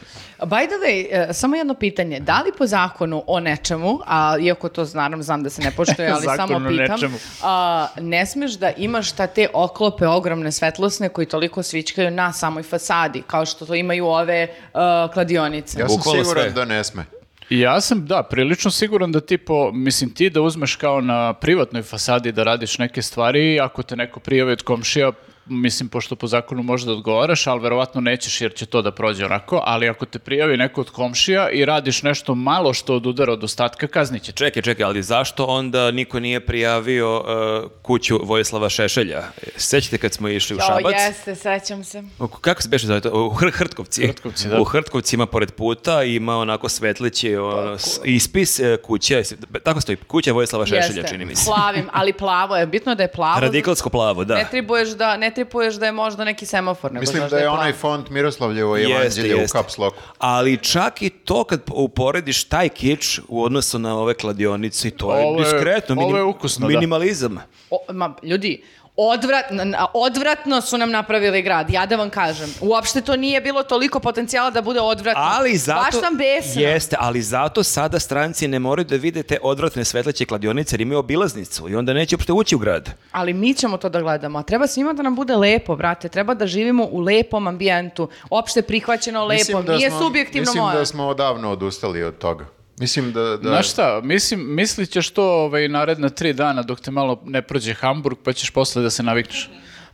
By the way, e, samo jedno pitanje. Da li po zakonu o nečemu, a iako to naravno znam da se ne poštuje, ali Zakon samo o pitam, nečemu. a, ne smeš da imaš ta te oklope ogromne svetlosne koji toliko svičkaju na samoj fasadi, kao što to imaju ove e, kladionice. Ja sam Bukvalno siguran sve. da ne sme. Ja sam, da, prilično siguran da ti po, mislim ti da uzmeš kao na privatnoj fasadi da radiš neke stvari, ako te neko prijavi od komšija, mislim, pošto po zakonu možeš da odgovaraš, ali verovatno nećeš jer će to da prođe onako, ali ako te prijavi neko od komšija i radiš nešto malo što odudara od ostatka, kaznit će te. Čekaj, čekaj, ali zašto onda niko nije prijavio uh, kuću Vojislava Šešelja? Sećate kad smo išli u O, Šabac? jeste, sećam se. U- Kako se beše zove to? U Hr- Hrtkovci. Hrtkovci, da. U Hrtkovcima pored puta ima onako svetlići ono, s- ispis e, kuće, s- tako stoji, kuća Vojislava Šešelja Jeste. čini mi se. Plavim, ali plavo je. Bitno je da je plavo. Radikalsko plavo, da. Ne tribuješ da, ne tribuješ da je možda neki semafor. Nego Mislim znaš da je plavo. onaj font Miroslavljevo Jeste, evanđelje u jeste. caps locku. Ali čak i to kad uporediš taj kič u odnosu na ove kladionice, to je, Ovo je- diskretno. ovo je ukusno, da. Minimalizam. O, ma, ljudi, odvrat, na- odvratno su nam napravili grad, ja da vam kažem. Uopšte to nije bilo toliko potencijala da bude odvratno. Ali zato... Baš sam besna. Jeste, ali zato sada stranci ne moraju da vide te odvratne svetleće kladionice jer imaju obilaznicu i onda neće uopšte ući u grad. Ali mi ćemo to da gledamo. A treba svima da nam bude lepo, brate. Treba da živimo u lepom ambijentu. Opšte prihvaćeno lepo. Nije subjektivno mislim moje. da smo odavno odustali od toga. Mislim da... da Znaš šta, mislim, mislit ćeš to ovaj, naredna tri dana dok te malo ne prođe Hamburg, pa ćeš posle da se navikneš.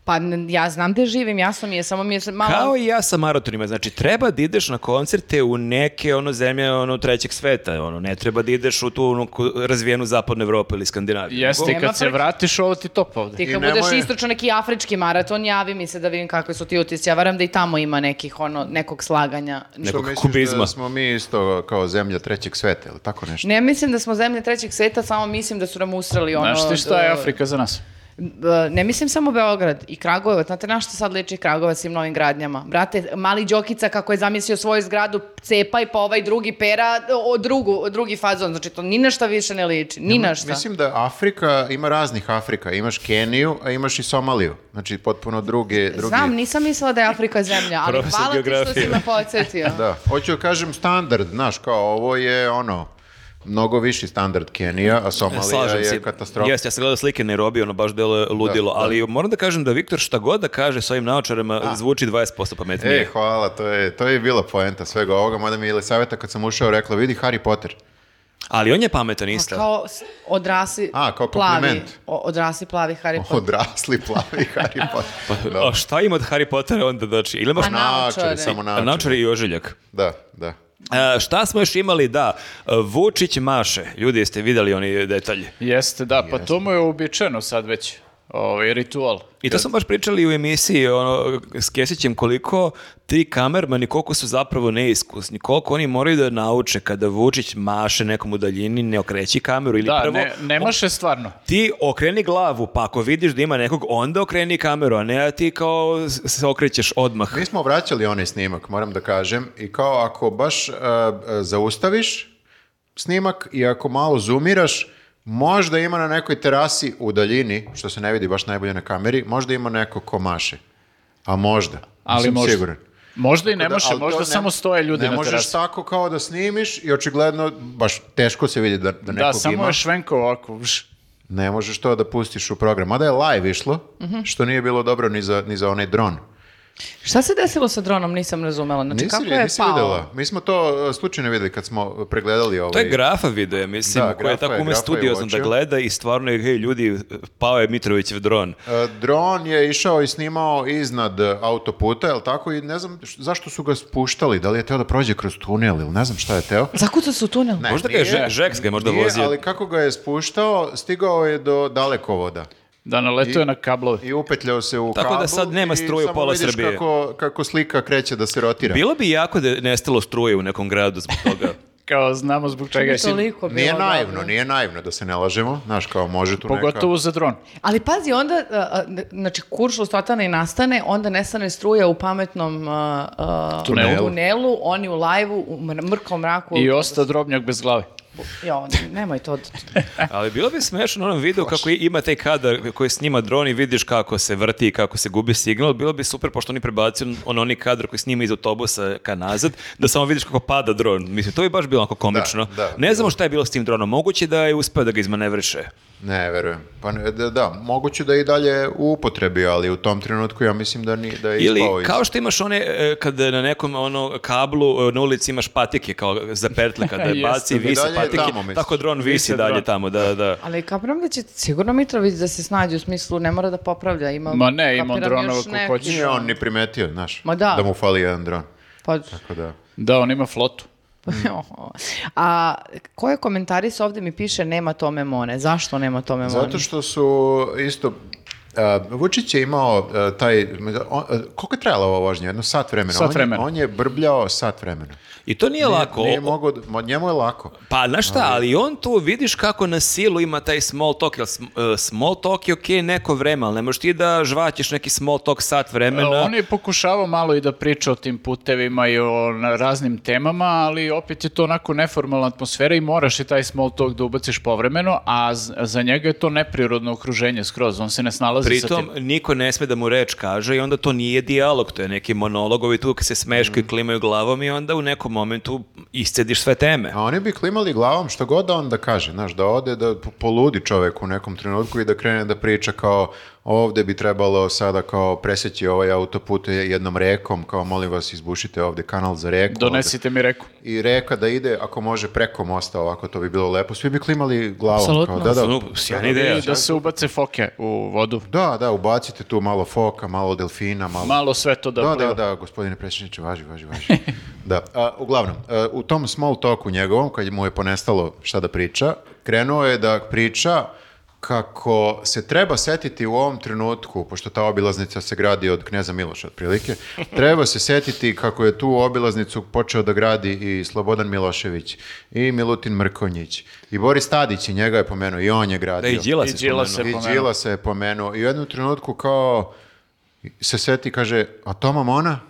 Pa n- ja znam gde živim, jasno mi je, samo mi je s- malo... Kao i ja sa maratonima, znači treba da ideš na koncerte u neke ono zemlje ono trećeg sveta, ono ne treba da ideš u tu ono, ku- razvijenu zapadnu Evropu ili Skandinaviju. Jeste, i Nema kad se frke. vratiš, ovo ti top ovde. Ti I kad budeš nemoj- istočno neki afrički maraton, javi mi se da vidim kakvi su ti utisci. Ja varam da i tamo ima nekih, ono, nekog slaganja. što nekog misliš kubizma. da smo mi isto kao zemlja trećeg sveta ili tako nešto? Znači, Ne mislim da smo zemlje trećeg sveta, samo mislim da su nam usrali ono... Znaš ti šta je e, Afrika za nas? e, Ne mislim samo Beograd i Kragujevac. Znate na što sad liči Kragujevac s tim novim gradnjama? Brate, mali Đokica kako je zamislio svoju zgradu, cepa i pa ovaj drugi pera, o, drugu, drugi fazon. Znači to ni na šta više ne liči, ni na šta. Mislim da Afrika, ima raznih Afrika. Imaš Keniju, a imaš i Somaliju. Znači potpuno druge... drugi- Znam, nisam mislila da je Afrika zemlja, ali Profesor hvala ti što si geografije. me podsjetio. Da, hoću da kažem standard, znaš, kao ovo je ono, mnogo viši standard Kenija, a Somalija je katastrofa. Jeste, ja sam gledao slike Nairobi, ono baš delo ludilo, Da, da. ali moram da kažem da Viktor šta god da kaže s ovim naočarama zvuči 20% pametnije. E, hvala, to je, to je bila poenta svega ovoga, mada mi je Elisaveta kad sam ušao rekla, vidi Harry Potter. Ali on je pametan isto. Kao s- odrasli A, kao plavi, kompliment. o- odrasli plavi Harry Potter. Odrasli plavi Harry Potter. Da. Pa, A šta ima od Harry Pottera onda, znači, ili imaš A na... Naočare. Naočare, samo naočare. naočare i ožiljak? Da, da. E, šta smo još imali, da, Vučić maše, ljudi jeste vidjeli oni detalje. Jeste, da, pa to mu je uobičajeno sad već, ovaj ritual. I to smo baš pričali u emisiji ono, s Kesićem koliko ti kamermani, koliko su zapravo neiskusni, koliko oni moraju da nauče kada Vučić maše nekom u daljini, ne okreći kameru ili Da, prvo... ne, ne maše stvarno. Ti okreni glavu, pa ako vidiš da ima nekog, onda okreni kameru, a ne da ti kao s- se okrećeš odmah. Mi smo vraćali onaj snimak, moram da kažem, i kao ako baš e, e, zaustaviš snimak i ako malo zoomiraš, možda ima na nekoj terasi u daljini, što se ne vidi baš najbolje na kameri, možda ima neko ko maše. A možda. Ali Nisam možda. siguran. Možda i ne Tako da, može, ali to možda ne- samo stoje ljudi ne na možeš terasi. tako kao da snimiš i očigledno baš teško se vidi da, da nekog Da, samo ima. je švenko ovako. vš. Ne možeš to da pustiš u program. Mada je live išlo, Mhm. što nije bilo dobro ni za, ni za onaj dron. Šta se desilo sa dronom, nisam razumela. Znači, Nisi, kako li- je nisi pao? videla. Mi smo to e, slučajno videli kad smo pregledali ovaj... To je grafa video, ja mislim, Da, koji je Grafa tako je- ume Grafa je studiozno da uočio. gleda i stvarno je, hej, ljudi, pao je Mitrovićev dron. E, Dron je išao i snimao iznad e, autoputa, jel tako? I ne znam š- zašto su ga spuštali, da li je teo da prođe kroz tunel ili ne znam šta je teo. Zakucao se u tunel. Ne, Možda ga je nije. Žeks ga je možda Nije, vozio. ali kako ga je spuštao, stigao je do dalekovoda. Da naletuje I- na kablove. I upetljao se u Tako da kabel sad nema i struje samo pola vidiš Srbije. Kako, kako slika kreće da se rotira. Bilo bi jako da je nestalo struje u nekom gradu zbog toga. Kao znamo zbog čega je sin- Toliko bilo Nije naivno, dobro. nije naivno da se ne lažemo, znaš kao može tu Pogotovo za dron. Ali pazi, onda, a, a, znači, kuršlus totalno i nastane, onda nestane struja u pametnom a, a, Tunelu. tunelu, oni u lajvu, u mr- mrkom mraku. I osta drobnjak bez glave. Jo, nemoj to. Ali bilo bi smešno u onom videu kako i- ima taj kadar koji snima dron i vidiš kako se vrti i kako se gubi signal. Bilo bi super pošto oni prebacuju on onaj kadar koji snima iz autobusa ka nazad, da samo vidiš kako pada dron. Mislim, to bi baš bilo onako komično. da, ne znamo šta je bilo s tim dronom. Moguće da je uspeo da ga izmanevriše. neka... Ne, verujem. Pa ne- da, da, moguće da je i dalje u upotrebi, ali u tom trenutku ja mislim da, ni, da je Ili ispao iz... kao što imaš one, e, kad na nekom ono kablu e, na ulici imaš patike kao za petle, kada je Jeste, baci i da visi dalje je patike, tamo, misliš. tako dron visi Visi dalje dron. tamo, da, da. Ali kapiram da će sigurno Mitrović da se snađe u smislu, ne mora da popravlja. Ima, Ma ne, ima kapiram, dronova još ko neki hoćeš. Nije on ni primetio, znaš, Ma da. mu fali jedan dron. Pa, Tako da... Da, on ima flotu. a ko je komentaris ovdje mi piše nema tome More? Zašto nema tome More? Zato što su isto... a, Vučić je imao a, taj... On, a, koliko je trajala ova vožnja? Jedno sat vremena. Sat On je- vremena. On je, brbljao sat vremena. I to nije lako. Nije mogao, da- ma, njemu je lako. Pa, znaš šta, ali on tu vidiš kako na silu ima taj small talk, jer sm- e, small talk je okej neko vreme, ali ne možeš ti da žvaćeš neki small talk sat vremena. On je pokušavao malo i da priča o tim putevima i o na- raznim temama, ali opet je to onako neformalna atmosfera i moraš i taj small talk da ubaciš povremeno, a z- za njega je to neprirodno okruženje skroz, on se ne snalazi sa Pritom, tim. niko ne sme da mu reč kaže i onda to nije dijalog, to je neki monologovi tu kad se Mm. smeškaju, klimaju glavom i onda u nekom momentu iscediš sve teme. A oni bi klimali glavom što god da on da kaže, znaš, da ode, da po- poludi čovek u nekom trenutku i da krene da priča kao ovde bi trebalo sada kao preseći ovaj autoput jednom rekom, kao molim vas izbušite ovde kanal za reku. Donesite mi reku. ovde. I reka da ide, ako može, preko mosta ovako, to bi bilo lepo. Svi bi klimali glavom. Apsolutno. Kao, da, da, Ono, sjajna ideja. I da se ubace foke u vodu. da, da, ubacite tu malo foka, malo delfina, malo... Malo sve to da, Da, pliva. da, da, gospodine predsjedniče, važi, važi, važi. da, a, uglavnom, a, u tom small talku njegovom, kad mu je ponestalo šta da priča, krenuo je da priča kako se treba setiti u ovom trenutku, pošto ta obilaznica se gradi od Kneza Miloša otprilike, treba se setiti kako je tu obilaznicu počeo da gradi i Slobodan Milošević, i Milutin Mrkonjić, i Boris Tadić i njega je pomenuo, i on je Da gradio. i Đilas I je Đilas spomenuo. je I pomenuo. Đilasa je pomenuo. I u jednom trenutku kao se seti, kaže, a Toma Mona?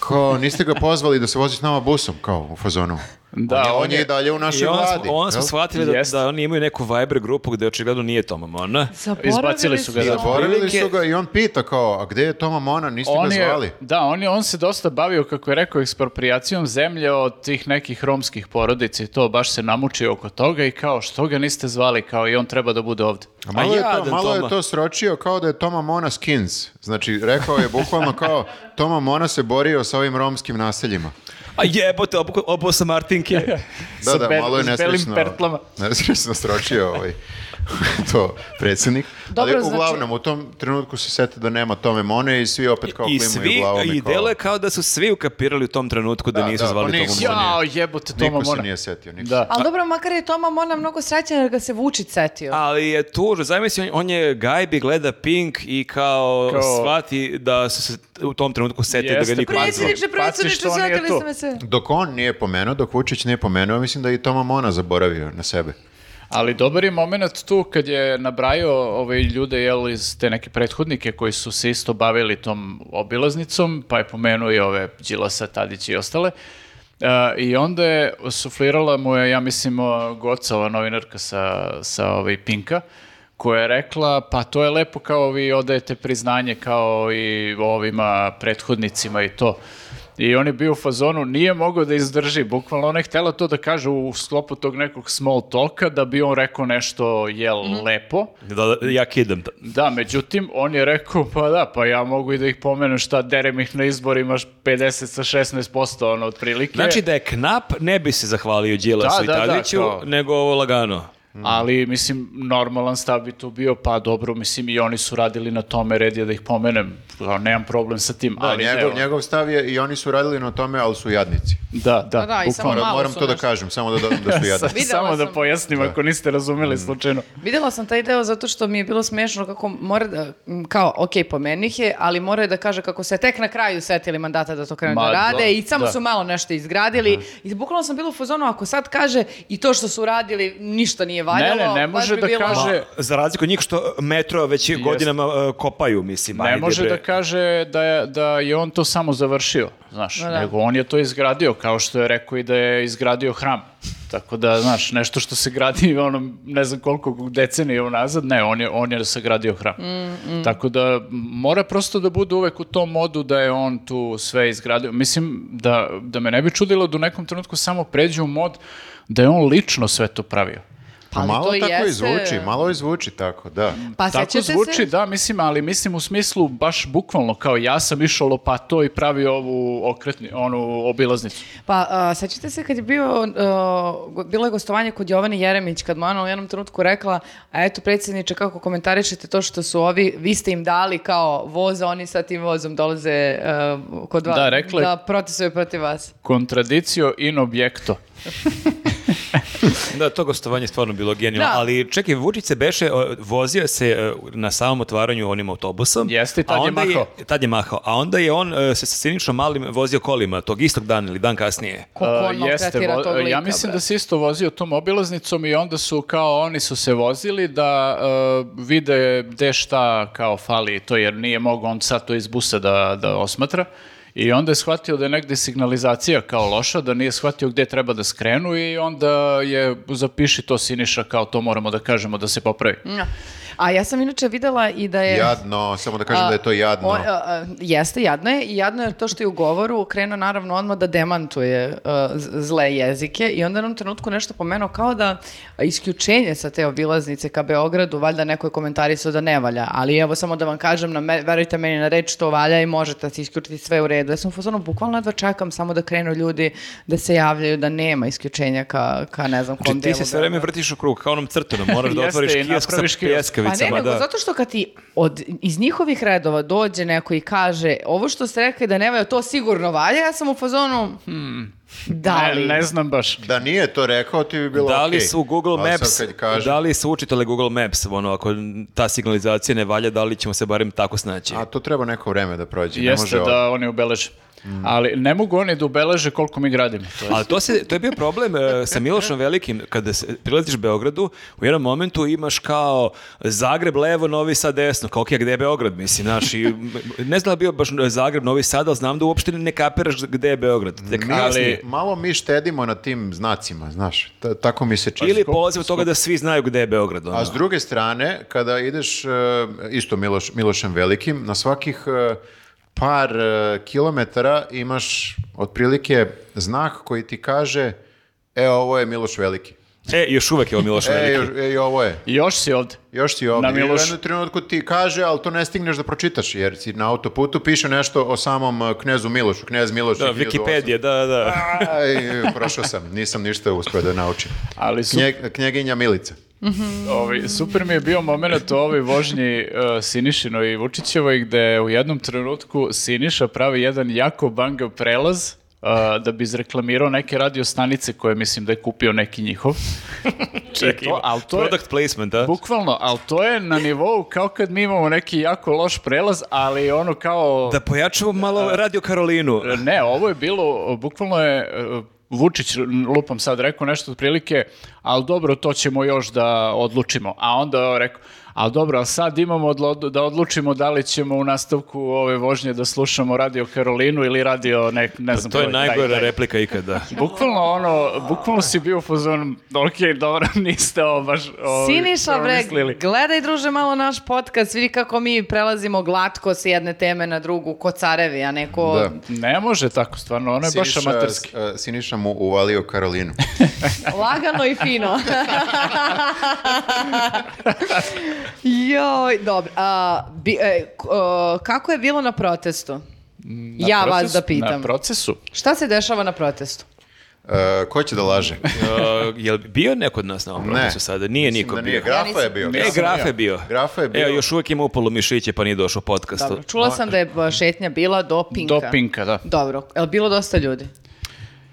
Kao, niste ga pozvali da se vozi s nama busom, kao u fazonu. Da, on, je, on on je je- i dalje u našoj I onda vladi. smo, onda smo jel? shvatili da, Jeste. da oni imaju neku Viber grupu gde očigledno nije Toma Mona. Zaboravili Izbacili su ga, I da. ono. zaboravili Otprilike- su ga i on pita kao, a gde je Toma Mona, niste On ga je, zvali? da, on, je, on se dosta bavio, kako je rekao, ekspropriacijom zemlje od tih nekih romskih porodica i to baš se namučio oko toga i kao što ga niste zvali, kao i on treba da bude ovde. A malo, A je, to, jadan malo je Toma. to sročio kao da je Toma Mona skins. Znači, rekao je bukvalno kao, Toma Mona se borio sa ovim romskim naseljima. A jebote, obo, obo sa Martinke. Da, Sa da, be- malo je s belim nesrećno, pertlama. nesrećno sročio ovaj, to predsjednik. Dobro, Ali znači- uglavnom, u tom trenutku se sete da nema Tome Mone i svi opet kao I klimaju svi, glavom. i kao- delo je kao da su svi ukapirali u tom trenutku da, Da, nisu da, zvali pa Tomu nisu. Mona. Jao, jebote, Toma Niko se Mona. nije setio. Niko Da. se- Ali dobro, makar je Toma Mona mnogo srećan jer ga se Vučić setio. Ali je tužno, zamisli, on, on je gajbi, gleda Pink i kao, Kao- shvati da su se u tom trenutku setili da Jeste, ga niko ne zvao. Predsjedniče, Pazi predsjedniče, što on nije sjetili tu. ste me se. Dok on nije pomenuo, dok Vučić nije pomenuo, mislim da je i Toma Mona zaboravio na sebe. Ali dobar je moment tu kad je nabrajao ove ljude jel, iz te neke prethodnike koji su se isto bavili tom obilaznicom, pa je pomenuo i ove Đilasa, Tadić i ostale. E, I onda je suflirala mu je, ja mislim, o, Goca, ova novinarka sa, sa ove, Pinka, koja je rekla, pa to je lepo kao vi odajete priznanje kao i ovima prethodnicima i to. I on je bio u fazonu, nije mogao da izdrži, bukvalno ona je htjela to da kaže u sklopu tog nekog small talka, da bi on rekao nešto, jel, lepo. Da, da, ja kidam. ta- Da, međutim, on je rekao, pa da, pa ja mogu i da ih pomenem šta, derem ih na izborima 50 sa 16%, ono, otprilike. Znači da je knap, ne bi se zahvalio Đilasu Da, i da, da, Tadiću, kao- nego ovo lagano. Mm. Ali, mislim, normalan stav bi tu bio, pa dobro, mislim, i oni su radili na tome, red je da ih pomenem, Kao, nemam problem sa tim, Da, ali ono- evo. njegov, njegov stav je i oni su radili na tome, ali su jadnici. Da, da, Pa da, i samo bukvalno. Malo Moram su to da nešto. kažem, samo da dodam da su jadnici. Videla Samo da sam. pojasnim ako niste razumeli Mm. slučajno. Videla sam taj deo zato što mi je bilo smešno kako mora da, m, kao, ok, pomenih je, ali mora da kaže kako se tek na kraju setili mandata da to krenu Ma, da da, rade i samo da. su malo nešto izgradili. I bukvalno sam bila u fazonu, ako sad kaže i to što su radili, ništa nije valjalo. ne, ne baš može bi da bilo- kaže- Ma, za razliku od njih što metro već godinama e, kopaju, mislim. ne ajde, može bre. da kaže da je, da je on to samo završio, znaš, da. nego on je to izgradio, kao što je rekao i da je izgradio hram. Tako da, znaš, nešto što se gradi ono, ne znam koliko decenija unazad, ne, on je, on je sagradio hram. Tako da m, mora prosto da bude uvek u tom modu da je on tu sve izgradio. Mislim da, da me ne bi čudilo da u nekom trenutku samo pređe u mod da je on lično sve to pravio. Pa Pa ali malo to tako jeste- i zvuči, malo i zvuči tako, da. Pa Tako sećate se- zvuči, da, mislim, ali mislim u smislu baš bukvalno kao ja sam išao lopato i pravio ovu okretni, onu obilaznicu. Pa, a, sećate se kad je bio, a, go- bilo je gostovanje kod Jovane Jeremić, kad mu je ona u jednom trenutku rekla, a eto predsjedniče, kako komentarišete to što su ovi, vi ste im dali kao voz, a oni sa tim vozom dolaze a, kod vas. Da, rekla je- Da, protestuju protiv vas. Kontradicio in objekto. Da, to gostovanje je stvarno bilo genijalno. Da. Ali čekaj, Vučić se beše, e, vozio se e, na samom otvaranju onim autobusom. Jeste, i a tad je onda mahao. tad je mahao. A onda je on e, se sa Sinišom Malim vozio kolima tog istog dana ili dan kasnije. Znači, Koliko Uh, on jeste, maltretira vo- ono tog ja lika, mislim bre. da se isto vozio tom obilaznicom i onda su kao oni su se vozili da uh, vide gde šta kao fali to jer nije mogao on sad to iz busa da, da osmatra i onda je shvatio da je negde signalizacija kao loša, da nije shvatio gde treba da skrenu i onda je zapiši to Siniša kao to moramo da kažemo da se popravi. Ja. A ja sam inače videla i da je... Jadno, samo da kažem da je to jadno. On, E. a, a, jeste, jadno je. I jadno je to što je u govoru krenuo naravno odmah da demantuje a, z- zle jezike i onda je u jednom trenutku nešto pomenuo kao da isključenje sa te obilaznice ka Beogradu, valjda neko je komentarisao da ne valja, ali evo samo da vam kažem, na me, verujte meni na reč to valja i možete da se isključiti sve u redu. Ja sam u fazonu bukvalno jedva čekam samo da krenu ljudi da se javljaju da nema isključenja ka, ka ne znam kom Znači ti delu se sve vreme Beograda. vrtiš u krug, kao onom crtenom, moraš da Jeste, otvoriš i kiosk sa napraviš kiosk. pljeskavicama. Pa ne, nego da. zato što kad ti od, iz njihovih redova dođe neko i kaže ovo što ste rekli da ne valja, to sigurno valja, ja sam u fazonu, hmm, da li? Ne, ne znam baš. Da nije to rekao, ti bi bilo Da li okej. su Google Ali sad Maps, kad kažem- da li su učitali Google Maps, ono, ako ta signalizacija ne valja, da li ćemo se barem tako snaći? A to treba neko vreme da prođe, ne Jeste može Mm. ovo. da oni obeleže. Ali ne mogu oni da ubeleže koliko mi gradimo. To je Ali to, se, to je bio problem e, sa Milošom Velikim, kada se prilaziš Beogradu, u jednom momentu imaš kao Zagreb levo, Novi Sad desno, kao ok, a gde je Beograd, mislim, znaš, i, m, ne znam da je bio baš Zagreb, Novi Sad, ali znam da uopšte ne kapiraš gde je Beograd. Tek Mi, kasnije. Malo mi štedimo na tim znacima, znaš, ta- tako mi se čini. Ili polazi od toga da svi znaju gde je Beograd. ono. A s druge strane, kada ideš e, isto Miloš, Milošem Velikim, na svakih e, par e, kilometara imaš otprilike znak koji ti kaže e, ovo je Miloš Veliki. E, još uvek je ovo Miloš E, Veliki. još, e, i ovo je. Još si ovde. Još si ovdje. Na Miloš. I u jednom trenutku ti kaže, ali to ne stigneš da pročitaš, jer si na autoputu piše nešto o samom e, knezu Milošu. Knez Miloš Da, je 1800. Wikipedia, da, da. Aj, prošao sam, nisam ništa uspio da naučim. Ali su, Knje- knjeginja Milica. ovi, super mi je bio moment u ovoj vožnji uh, Sinišino i Vučićevoj gde u jednom trenutku Siniša pravi jedan jako bangav prelaz uh, da bi izreklamirao neke radio stanice koje mislim da je kupio neki njihov. E, Čekaj, to- ali to je- product placement, da? Bukvalno, ali to je na nivou kao kad mi imamo neki jako loš prelaz, ali ono kao... Da pojačamo malo Radio Karolinu. Ne, ovo je bilo, bukvalno je e, Vučić, lupam sad, rekao nešto otprilike, ali dobro, to ćemo još da odlučimo. A onda je rekao, ali dobro, ali sad imamo odlo- da odlučimo da li ćemo u nastavku ove vožnje da slušamo Radio Karolinu ili radio ne, ne znam. Pa To je koji, taj, najgora taj. replika ikada. Bukvalno ono, bukvalno si bio u fazonu, ok, dobro, niste ovo baš ovo, Siniša, bre, promislili." gledaj druže malo naš podcast, vidi kako mi prelazimo glatko s jedne teme na drugu, ko carevi, a neko... Da. Ne može tako, stvarno, ono je baš Siniša- amaterski. e, Siniša mu uvalio Karolinu. Lagano i fino. Joj, dobro. A, bi- e, k- o, kako je bilo na protestu? Na ja vas procesu- da pitam. Na procesu? Šta se dešava na protestu? E, ko će da laže? Uh, jel bio neko od nas na ovom propisu sada? Nije Mislim niko da nije. bio. Grafa je bio. Ja E, nisam- Graf je bio. Grafa je bio. Evo, još uvijek ima upalo mišiće, pa nije došao podcast. Dobro, čula sam da je e, šetnja bila do pinka. Do pinka, da. Dobro, je li bilo dosta ljudi?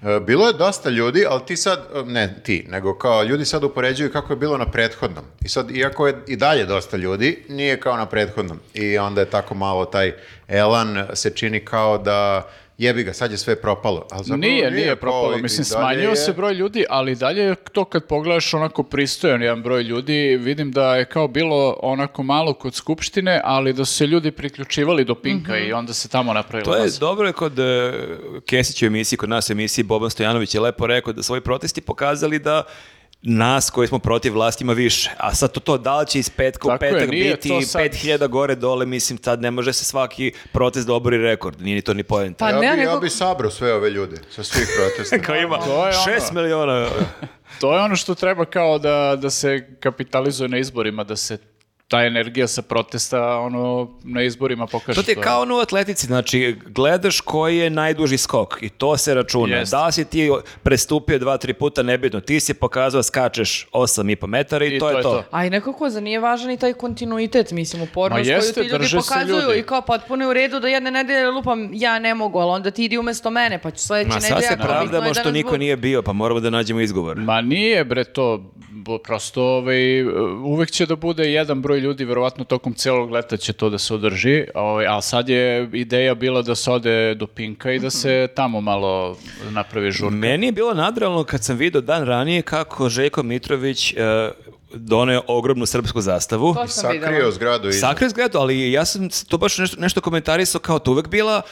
E, Bilo je dosta ljudi, ali ti sad, e, ne ti, nego kao ljudi sad upoređuju kako je bilo na prethodnom. I sad, iako je i dalje dosta ljudi, nije kao na prethodnom. I onda je tako malo taj elan se čini kao da jebi ga, sad je sve propalo. Ali zapravo Nije, nije kao propalo. i- Mislim, i dalje smanjio je- se broj ljudi, ali dalje je to kad pogledaš onako pristojan jedan broj ljudi, vidim da je kao bilo onako malo kod Skupštine, ali da su se ljudi priključivali do Pinka Mhm. i onda se tamo napravila To je masa. dobro je kod e, Kesića u emisiji, kod nas u emisiji Boban Stojanović je lepo rekao da svoji protesti pokazali da nas koji smo protiv vlasti ima više. A sad to, to da li će iz petka u Tako je, petak nije to biti sad- 5000 gore dole, mislim, tad ne može se svaki protest da obori rekord. Nije ni to ni pojenta. Pa Ja, ne, bi, ja nego... bi sabrao sve ove ljude sa svih protesta. Kao ima To je ono. 6 miliona. To je ono što treba kao da, da se kapitalizuje na izborima, da se ta energija sa protesta ono na izborima pokaže. To ti je kao ono u atletici, znači gledaš koji je najduži skok i to se računa. Jeste. Da li si ti prestupio dva, tri puta, nebitno, ti si pokazao skačeš 8,5 metara i, to, je to. A i nekako za nije važan i taj kontinuitet, mislim, upornost Ma jeste, koju ti ljudi drže se pokazuju ljudi. i kao potpuno je u redu da jedne nedelje lupam, ja ne mogu, ali onda ti idi umesto mene, pa ću sledeće Ma nedelje. sad se ako pravdamo nikno što danas niko bude. nije bio, pa moramo da nađemo izgovor. Ma nije bre to, bo- prosto ovaj, uvek će da bude jedan broj ljudi, verovatno tokom celog leta će to da se održi, ovaj, a sad je ideja bila da se ode do Pinka i da se tamo malo napravi žur. Meni je bilo nadrealno kad sam vidio dan ranije kako Željko Mitrović e, doneo ogromnu srpsku zastavu. To sam Sakrio videla. zgradu i... Sakrio zgradu, ali ja sam to baš nešto, nešto komentarisao kao to uvek bila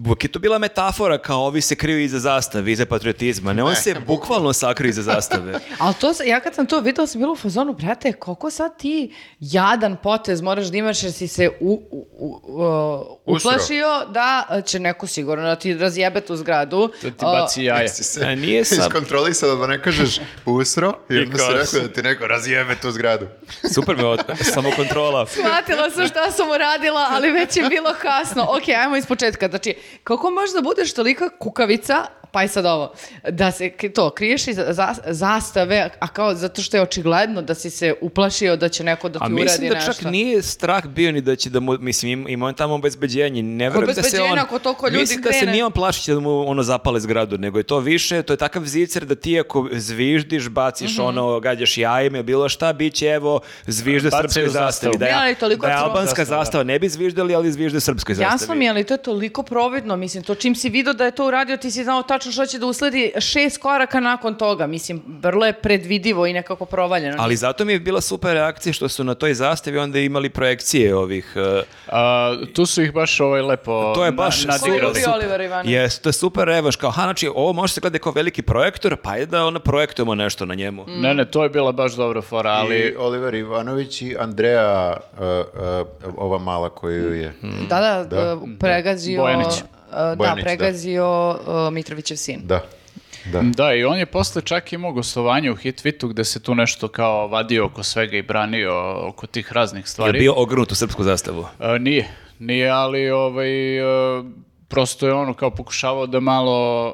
Uvijek je to bila metafora kao ovi se kriju iza zastave, iza patriotizma. Ne, on se bukvalno sakrio iza zastave. Ali to, se- ja kad sam to videla sam bila u fazonu, brate, koliko sad ti jadan potez moraš da imaš jer si se u, u, u- u- Usro. uplašio da će neko sigurno da ti razjebe tu zgradu. Da ti baci jaja. Si se A nije sam- iskontrolisala da ne kažeš usro i onda si kao- rekao da ti neko razjebe tu zgradu. Super me od... samokontrola. Shvatila sam šta sam uradila, ali već je bilo kasno. Ok, ajmo iz početka. Znači, kako možeš da budeš tolika kukavica, pa i sad ovo, da se k- to, kriješ iz za- zastave, a kao zato što je očigledno da si se uplašio da će neko da ti A uradi nešto. mislim da čak nije strah bio ni da će da mu, mislim, im- ima on tamo obezbeđenje, ne verujem da se obezbeđenje, on, ako toliko ljudi mislim da se krene. nije on plašić da mu ono zapale zgradu, nego je to više, to je takav zicer da ti ako zviždiš, baciš Mhm. ono, gađaš jajima, bilo šta, bit će evo zvižde Bacaju srpskoj zastavu. zastavi. Da, je- Ne, ali toliko da je smo- albanska Zastava, da. zastava, ne bi zviždali, ali zvižde srpskoj Jasno mi zastavi. je, ali to je toliko providno, mislim, to čim si vidio da je to uradio, ti si znao tačno što će da usledi šest koraka nakon toga, mislim, vrlo je predvidivo i nekako provaljeno. Ali zato mi je bila super reakcija što su na toj zastavi onda imali projekcije ovih... eh, A, tu su ih baš ovaj lepo To je baš na, Ko je nadigrali. bio super. Oliver Ivanović? Jes, to je super revaš, kao, ha, znači, ovo može se gledati kao veliki projektor, pa je da ono projektujemo nešto na Mhm. njemu. Ne, ne, to je bila baš dobra fora, ali... I Oliver Ivanović i Andreja, uh, uh, ova mala koju je. Mm. Da, da, e, pregazio... Bojanić. e, da, Bojanić, da. pregazio e, Mitrovićev sin. Da, da. Da, i on je posle čak imao gostovanje u Hitvitu gde se tu nešto kao vadio oko svega i branio oko tih raznih Je stvari. bio ogrnut u srpsku zastavu. E, nije, nije, ali ovaj, e, prosto je ono kao pokušavao da malo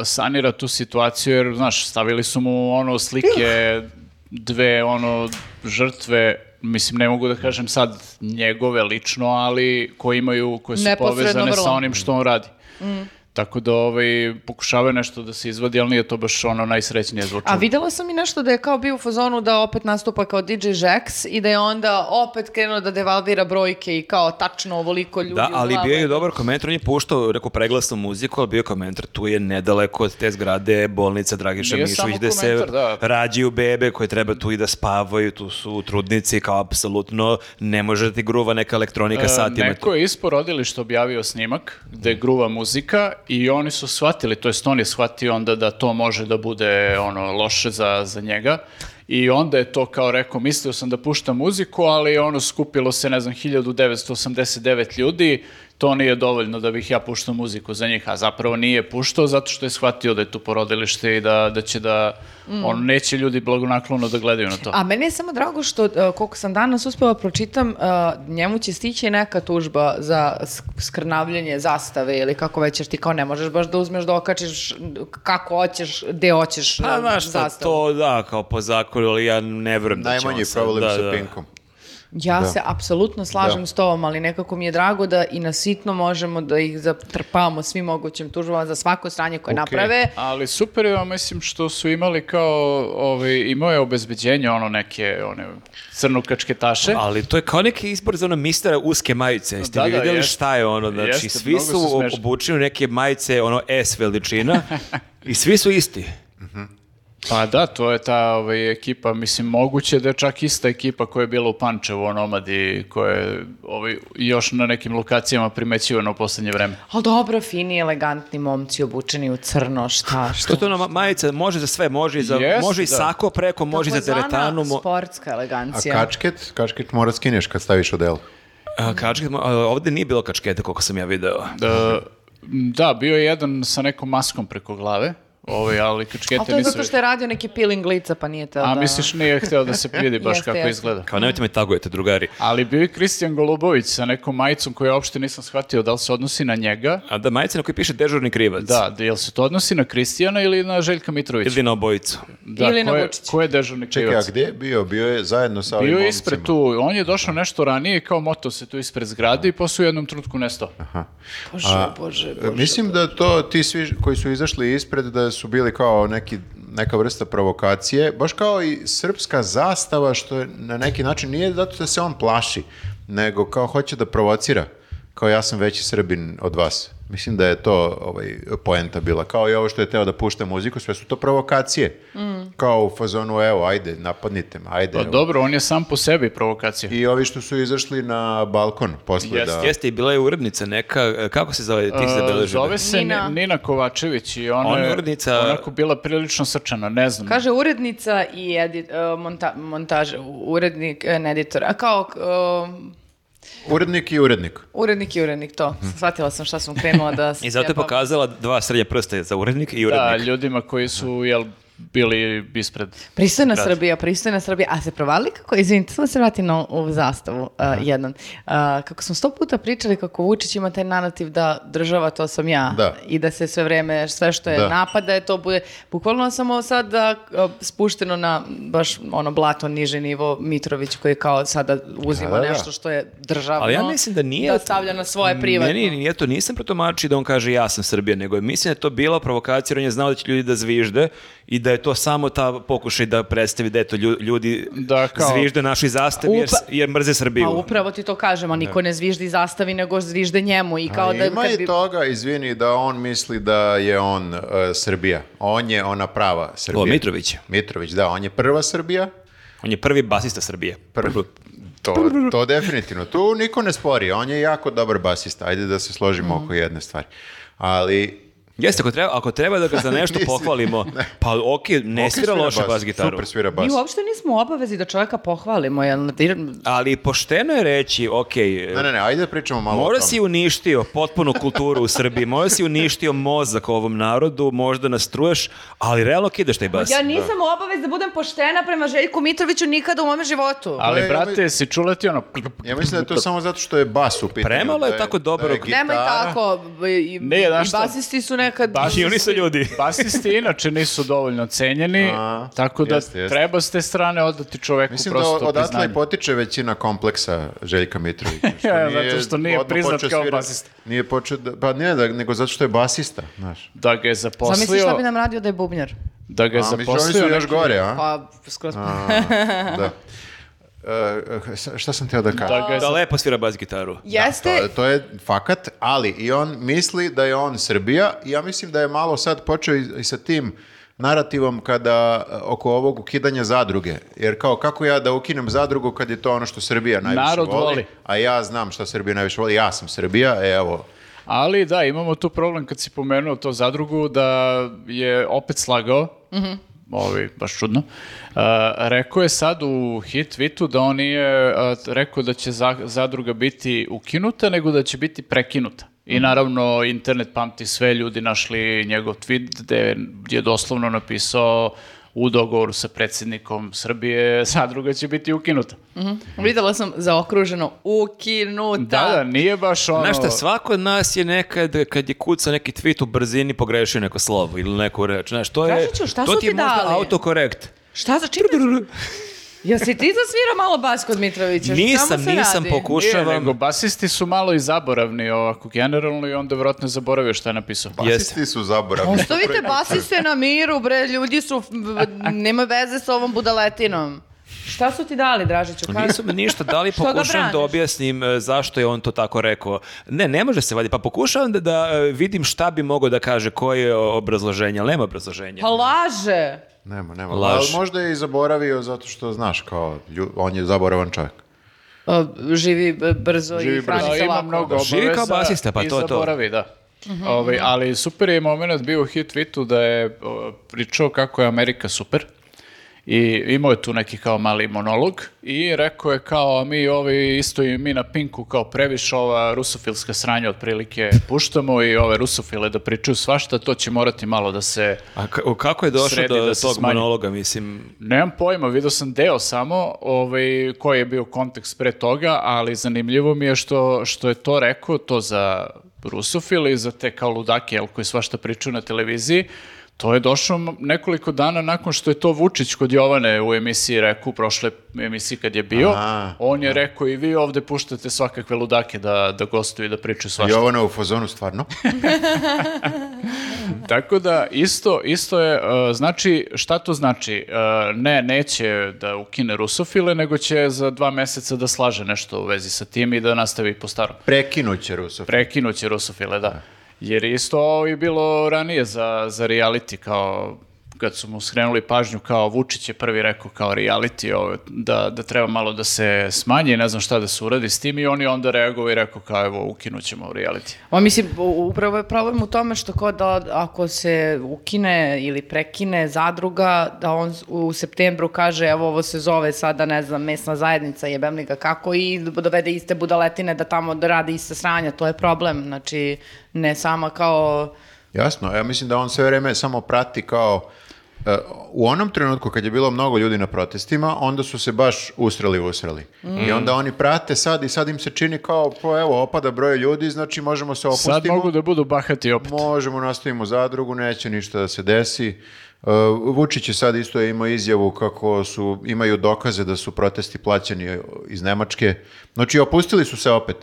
e, sanira tu situaciju, jer, znaš, stavili su mu ono slike dve ono žrtve, mislim, ne mogu da kažem sad njegove lično, ali koje imaju, koje su Neposredno povezane sa vrlo. Mm. onim što on radi. Tako da ovaj, pokušavaju nešto da se izvadi, ali nije to baš ono najsrećnije zvučilo. A videla sam i nešto da je kao bio u fazonu da opet nastupa kao DJ Jax i da je onda opet krenuo da devalvira brojke i kao tačno ovoliko ljudi Da, u ali glavu. bio je dobar komentar, on je puštao, rekao, preglasnu muziku, ali bio je komentar, tu je nedaleko od te zgrade bolnica Dragiša Nije Mišović, samo gde se komentar, da. rađaju bebe koje treba tu i da spavaju, tu su trudnici, kao apsolutno ne može da ti gruva neka elektronika E, satima. Neko je ispo rodilišta objavio snimak gde gruva muzika i oni su shvatili, to jest on je shvatio onda da to može da bude ono loše za, za njega. I onda je to kao rekao, mislio sam da puštam muziku, ali ono skupilo se, ne znam, 1989 ljudi, to nije dovoljno da bih ja puštao muziku za njih, a zapravo nije puštao zato što je shvatio da je tu porodilište i da, da će da, on neće ljudi blagonaklono da gledaju na to. A meni je samo drago što, uh, koliko sam danas uspela pročitam, uh, njemu će stići neka tužba za sk- skrnavljanje zastave ili kako već, jer ti kao ne možeš baš da uzmeš da okačiš kako hoćeš, gde hoćeš Pa um, znaš šta, zastavu. to da, kao po zakonu, ali ja ne vjerujem da ćemo Najmanji sad- problem da, sa da. Pinkom. Ja Da. se apsolutno slažem Da. s tobom, ali nekako mi je drago da i na sitno možemo da ih zatrpamo svim mogućim tužbama za svako stranje koje Okej. naprave. Ali super je, ja mislim, što su imali kao, ovaj, imao je obezbeđenje, ono neke, one crnukačke taše. Ali to je kao neki izbor za ono mistera uske majice. Jeste Da, vi da, vidjeli jest. šta je ono? Znači, Jeste, svi mnogo su su ob- smešni. obučeni u neke majice, ono S veličina, i svi su isti. Pa da, to je ta ovaj, ekipa, mislim, moguće da je čak ista ekipa koja je bila u Pančevu, u Nomadi, koja je ovaj, još na nekim lokacijama primećivana u poslednje vreme. Ali dobro, fini, elegantni momci obučeni u crno, šta, šta. To je to ono, ma- majica može za sve, može i, za, Jest, može i da. sako preko, može i za Takozvana teretanu. mo- sportska A elegancija. kačket? Kačket mora skineš kad staviš odelo. A, kačke, ma- a, ovdje nije bilo kačketa koliko sam ja video. Da, E, da, bio je jedan sa nekom maskom preko glave, ovaj, ali Ali kačkete to je nisu... zato što je radio neki peeling lica, pa nije teo A da... misliš nije hteo da se vidi baš Jeste, kako jeste. izgleda. Kao nemojte me tagujete, drugari. Ali bio je Kristijan Golubović sa nekom majicom koju ja uopšte nisam shvatio da li se odnosi na njega. A da majice na kojoj piše dežurni krivac. Da, da, jel se to odnosi na Kristijana ili na Željka Mitrovića? Ili na obojicu. Da, Ili na ko je- Vučića. Ko je dežurni Čekaj, a krivac? gdje je bio? Bio je zajedno sa ovim Bio je momcima. ispred tu, on je došao nešto ranije i kao moto se tu ispred zgrade i posle u jednom trenutku nestao. Bože, bože, E, Mislim da to ti svi koji su izašli ispred da su bili kao neki, neka vrsta provokacije, baš kao i srpska zastava što je na neki način nije zato da se on plaši, nego kao hoće da provocira, kao ja sam veći srbin od vas. Mislim da je to ovaj, poenta bila, kao i ovo što je teo da pušta muziku, sve su to provokacije. Kao u fazonu, evo, ajde, napadnite me, ajde. Pa evo. dobro, on je sam po sebi provokacija. I ovi što su izašli na balkon posle Jeste, da... Jeste, i bila je urednica neka, e, kako se zove, ti se A, zabeležila? Zove se Nina. Nina, Nina Kovačević i ona, Ona je je urednica- onako bila prilično srčana, ne znam. Kaže urednica i edit, e, monta, montaže, u- urednik, e, ne editor, a kao k- e, Urednik i urednik. urednik i urednik, to. Shvatila sam šta sam krenula da... I zato je sjebam. pokazala dva srednje prste za urednik i da, urednik. ljudima koji su jel, bili ispred. Pristojna Srbija, pristojna Srbija. A se provali kako, izvinite, samo da se vratim na ovu zastavu uh, jednom. Uh, kako smo sto puta pričali kako Vučić ima taj narativ da država to sam ja Da. i da se sve vreme, sve što je Da. napada je to bude, bukvalno samo sada uh, spušteno na baš ono blato niže nivo Mitrović koji kao sada uzima Da, da, da. nešto što je državno. Ali ja mislim da nije... Da stavlja na svoje privatno. Meni nije to, nisam protomačio da on kaže ja sam Srbija, nego je- mislim da je to bila provokacija, jer on je znao da će ljudi da zvižde i da je to samo ta pokušaj da predstavi da eto lju- ljudi Da, kao- zvižde naši zastavi jer, Upa- jer mrze Srbiju. Pa upravo ti to kažem, a niko ne zviždi zastavi, nego zvižde njemu. I kao A da, ima kad i bi- toga, izvini, da on misli da je on e, Srbija. On je ona prava Srbija. O, Mitrović. Mitrović, da, on je prva Srbija. On je prvi basista Srbije. Prv- To, to definitivno. Tu niko ne spori. On je jako dobar basista. Ajde da se složimo oko jedne stvari. Ali... Jeste, ako treba, ako treba da ga za nešto Nisi- pohvalimo, pa ok, ne ok, svira loše bas, bas gitaru. Super svira Mi bas. uopšte nismo u obavezi da čovjeka pohvalimo, jel? Ali pošteno je reći, ok, Ne, ne, ne, ajde da pričamo malo o Možda tome. si uništio potpunu kulturu u Srbiji, možda si uništio mozak ovom narodu, možda nas truješ, ali realno kidaš taj bas. Ja nisam u obavezi da budem poštena prema Željku Mitroviću nikada u mome životu. Ali, Pa ja bi- brate, si čula ti ono... Ja mislim da je to samo zato što je bas u pitanju. Premalo je da tako dobro- da je Nemoj gitara. tako, i, Ne, znaš i šta? basisti su nekad... I oni su ljudi. Basisti inače nisu dovoljno cenjeni, A, tako da jeste, jeste. treba s te strane odati čoveku Mislim da prosto odatle priznanje. i potiče većina kompleksa Željka Mitrovića. što Ja, zato što nije odmah priznat počeo kao svira- basista. Nije počeo, da, pa ne, da, nego zato što je basista, znaš. Da ga je Zamisli šta zaposlio, bi nam radio da je bubnjar. da ga je A, mislim, oni su zaposlio još neki- gore, a? Pa, skroz... Da. E, e, šta sam teo da kažem? Da ga je Da lepo svira bas gitaru. Jeste, To, to je fakat, ali i on misli da je on Srbija i ja mislim da je malo sad počeo i, i sa tim narativom kada e, oko ovog ukidanja zadruge. Jer kao kako ja da ukinem zadrugu kad je to ono što Srbija najviše Narod voli, voli. a ja znam šta Srbija najviše voli, ja sam Srbija, e, evo. Ali Mhm. da, imamo tu problem kad si pomenuo to zadrugu da je opet slagao ovaj, baš čudno. Uh, rekao je sad u hit tweetu da on nije uh, rekao da će za- zadruga biti ukinuta, nego da će biti prekinuta. Mhm. I naravno, internet pamti sve, ljudi našli njegov tweet gde je doslovno napisao u dogovoru sa predsjednikom Srbije zadruga će biti ukinuta. Mhm. Videla sam zaokruženo ukinuta. Da, da, nije baš ono... Znaš šta, svako od nas je nekad, kad je kucao neki tweet u brzini, pogrešio neko slovo ili neku reč. Znaš, to je, Kažu ću, šta to su ti je ti možda dali? autokorekt. Šta za čitaš? Jel si ti zasvirao malo bas kod Mitrovića? Šta mu Nisam, se nisam radi? pokušavam. Nije, E, nego basisti su malo i zaboravni ovako generalno i onda vjerojatno je zaboravio šta je napisao. Jeste. Basisti su zaboravni. Ostavite basiste na miru, bre, ljudi su, nema veze s ovom budaletinom. Šta su ti dali, Dražiću? Kaži. Pa Nisu mi ništa dali, ga pokušavam da braniš? objasnim e, zašto je on to tako rekao. Ne, ne može se vaditi. Pa pokušavam da, da e, vidim šta bi mogao da kaže, koje je obrazloženje, ali nema obrazloženja. Pa laže. Nema, nema. Laž. Ali možda je i zaboravio zato što, znaš, kao, lju- on je zaboravan čovjek. O, živi b- brzo Živi i hrani brzo. se Pa, ima lako. mnogo Da, živi obaveza kao basista, pa i to je to. zaboravi, da. Ovaj, ali super je moment bio u hit tweetu da je o, pričao kako je Amerika super i imao je tu neki kao mali monolog i rekao je kao "A mi ovi isto i mi na Pinku kao previše ova rusofilska sranja otprilike puštamo i ove rusofile da pričaju svašta, to će morati malo da se A ka- kako je došlo Sredi do da se tog smanji. monologa, mislim? Nemam pojma, vidio sam deo samo ovaj, koji je bio kontekst pre toga, ali zanimljivo mi je što, što je to rekao, to za rusofile i za te kao ludake jel, koji svašta pričaju na televiziji, to je došlo m- nekoliko dana nakon što je to Vučić kod Jovane u emisiji rekao, u prošloj emisiji kad je bio, Aha. on je rekao i vi ovde puštate svakakve ludake da, da gostuju i da pričaju svašta. Jovana u fazonu, stvarno. Tako da isto isto je uh, znači šta to znači Uh, ne neće da ukine rusofile nego će za dva meseca da slaže nešto u vezi sa tim i da nastavi po starom. Prekinuće Rusov. Prekinuće rusofile, da. Jer isto ovo je bilo ranije za za reality kao kad su mu skrenuli pažnju kao Vučić je prvi rekao kao reality ovo, da, da treba malo da se smanji ne znam šta da se uradi s tim i oni onda reagovao i rekao kao evo ukinućemo reality. Ma mislim, u- upravo je problem u tome što kod da ako se ukine ili prekine zadruga, da on s- u septembru kaže evo ovo se zove sada, ne znam, mesna zajednica, jebem li ga kako i dovede iste budaletine da tamo da radi iste sranja, to je problem, znači ne sama kao... Jasno, ja mislim da on sve vrijeme samo prati kao e, u onom trenutku kad je bilo mnogo ljudi na protestima, onda su se baš usreli, usreli. I onda oni prate sad i sad im se čini kao, pa evo, opada broj ljudi, znači možemo se opustimo. Sad mogu da budu bahati opet. Možemo, nastavimo zadrugu, neće ništa da se desi. E, Vučić je sad isto imao izjavu kako su, imaju dokaze da su protesti plaćeni iz Nemačke. Znači, opustili su se opet.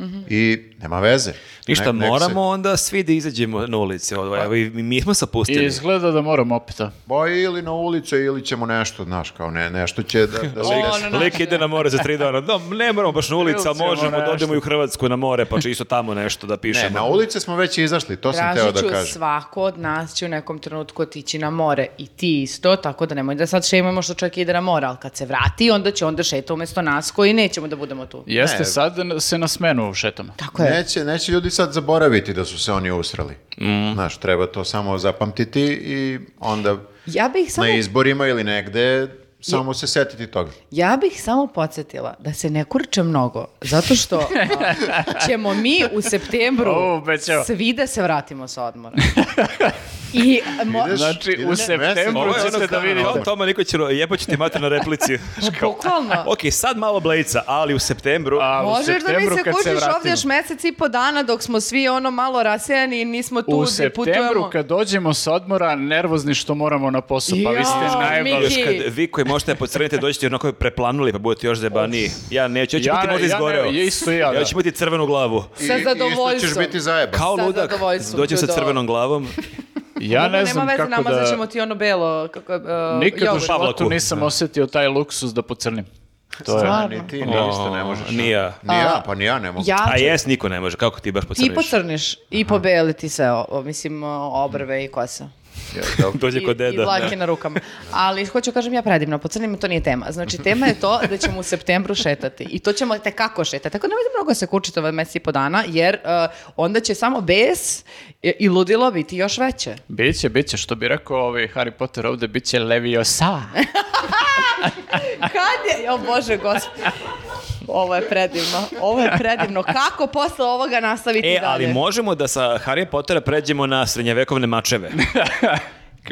Mhm. I nema veze. Ništa, Nek- nek se- moramo onda svi da izađemo na ulice. Ovo, evo, i mi smo se I pustili. izgleda da moram opet. a? Ba ili na ulicu ili ćemo nešto, znaš, kao ne, nešto će da, da se desi. Lik, lik ide na more za tri dana. Da, ne moramo baš na ulicu, a Ulicu, možemo mora da odemo nešto. i u Hrvatsku na more, pa će isto tamo nešto da Ne, pišemo. na ulice smo već izašli, Pa to sam teo Tražit da ću kažem. svako od nas će u nekom trenutku otići na more i ti isto, tako da nemoj da sad šemamo što čovjek ide na more, ali kad se vrati onda će onda šeta umjesto nas koji nećemo da budemo tu. Jeste, Ne. sad se na smenu šetamo. Tako je. Neće, neće ljudi sad zaboraviti da su se oni usrali. Znaš, treba to samo zapamtiti i onda Ja bih samo na izborima ili negde samo se setiti toga. Ja bih samo podsjetila da se ne kurče mnogo, zato što a, ćemo mi u septembru O, obećava. svi da se vratimo sa odmora. I mo- Ideš- Znači, ideš u mesec septembru Ovo dana je ono ćete da kao, vidite. kao Toma Nikolić, jebo ću ti mater na replici. bukvalno. ok, sad malo blejca, ali u septembru... A u Možeš da mi septembru se kad kužiš ovdje vratimo- još mesec i po dana dok smo svi ono malo rasijani i nismo tu U gdje putujemo. septembru kad dođemo sa odmora, nervozni što moramo na posao, pa vi ste Jao, Još najbolji. Miki. kad vi koji možete da podcrnite dođete onako preplanuli pa budete još zebaniji. Ja neću, ja ću Ja biti ne- možda ja ne- izgoreo. ja isto i ja, da. ću biti crvenu glavu. I- Sa i Isto ćeš zadovoljstvom. biti zajeban. Kao Sa ludak, zadovoljstvom dođem ću sa do- crvenom glavom. Ja ne znam Nema veze, kako namazat da... ćemo ti ono belo. Kako, uh, Nikad u jogurt. životu Pavlaku. nisam osjetio taj luksus da pocrnim. To je... A, ni ti ni isto ne možeš. Ni ja. Ni ja, pa ni ja ne mogu. Ja A Znači, ću- jes, niko ne može, kako ti baš Ti pocrniš? pocrniš i pobeli ti se, o- o, mislim, o, obrve i kosa. Ja, da, Dođe kod I, i deda. dlake na rukama. Ali hoću kažem ja predivno, po crnim to nije tema. Znači tema je to da ćemo u septembru šetati i to ćemo te kako šetati. Tako da nemojte mnogo se kučiti ova mesec i po dana jer uh, onda će samo bes i, i ludilo biti još veće. Biće, biće, što bi rekao ovaj Harry Potter ovde, biće Leviosa. Kad je? O Bože, gospod. Ovo je predivno. Ovo je predivno. Kako posle ovoga nastaviti E, dalje? ali možemo da sa Harry Pottera pređemo na srednjevekovne mačeve.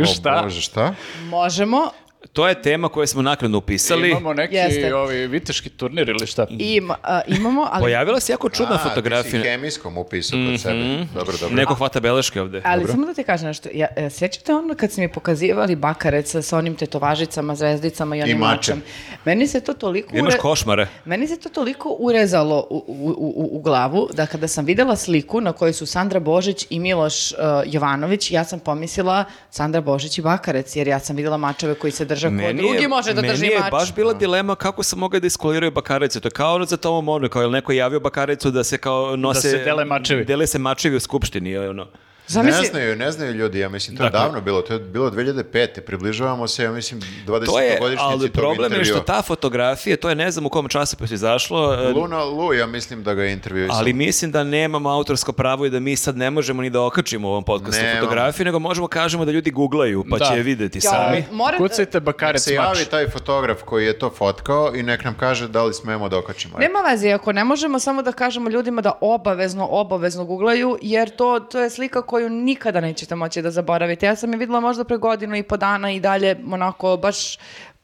o Šta? Bože, šta? Možemo. To je tema koju smo naknadno upisali. E, Imamo neki Jeste. ovi viteški turnir ili šta? Im, uh, imamo, ali... Pojavila se jako čudna A, ti fotografija. Mhm. si hemijskom upisao kod sebe. Dobro, dobro. Neko hvata beleške ovde. Ali samo da ti kažem nešto, ja, e, sjećate ono kad si mi pokazivali bakarec sa- sa onim tetovažicama, zvezdicama i onim mačem. mačem. Meni se to toliko... Imaš ure- košmare. Meni se to toliko urezalo u, u, u, u glavu da kada sam videla sliku na kojoj su Sandra Božić i Miloš e, Jovanović, ja sam pomislila Sandra Božić i Bakarec, jer ja sam videla mačeve koji se drža ko drugi može da meni drži je mač. baš bila dilema kako sam mogao da iskoliraju bakarice. To je kao ono za Tomo Morno, kao je li neko javio bakaricu da se kao nose... se dele mačevi. Dele se mačevi u skupštini. je li Ono. Zamisli- Ne znaju, ne znaju ljudi, ja mislim, to je Dakle. davno bilo, to je bilo 2005. Približavamo se, ja mislim, 20. To je, godišnjici ali tog problem je što intervjua. ta fotografija, to je ne znam u kom časopisu izašlo, e, Luna Lu, ja mislim da ga je intervjuisao. ali mislim da nemamo autorsko pravo i da mi sad ne možemo ni da okačimo u ovom podcastu Nemamo. fotografiju, nego možemo kažemo da ljudi googlaju, pa Da. će je videti Ja, sami. moram- Kucajte Nek bakarec se mač. javi taj fotograf koji je to fotkao i nek nam kaže da li smemo da okačimo. Nema veze, ako ne možemo samo da kažemo ljudima da obavezno, obavezno googlaju, jer to, to je slika koju nikada nećete moći da zaboravite. Ja sam je videla možda pre godinu i po dana i dalje, onako, baš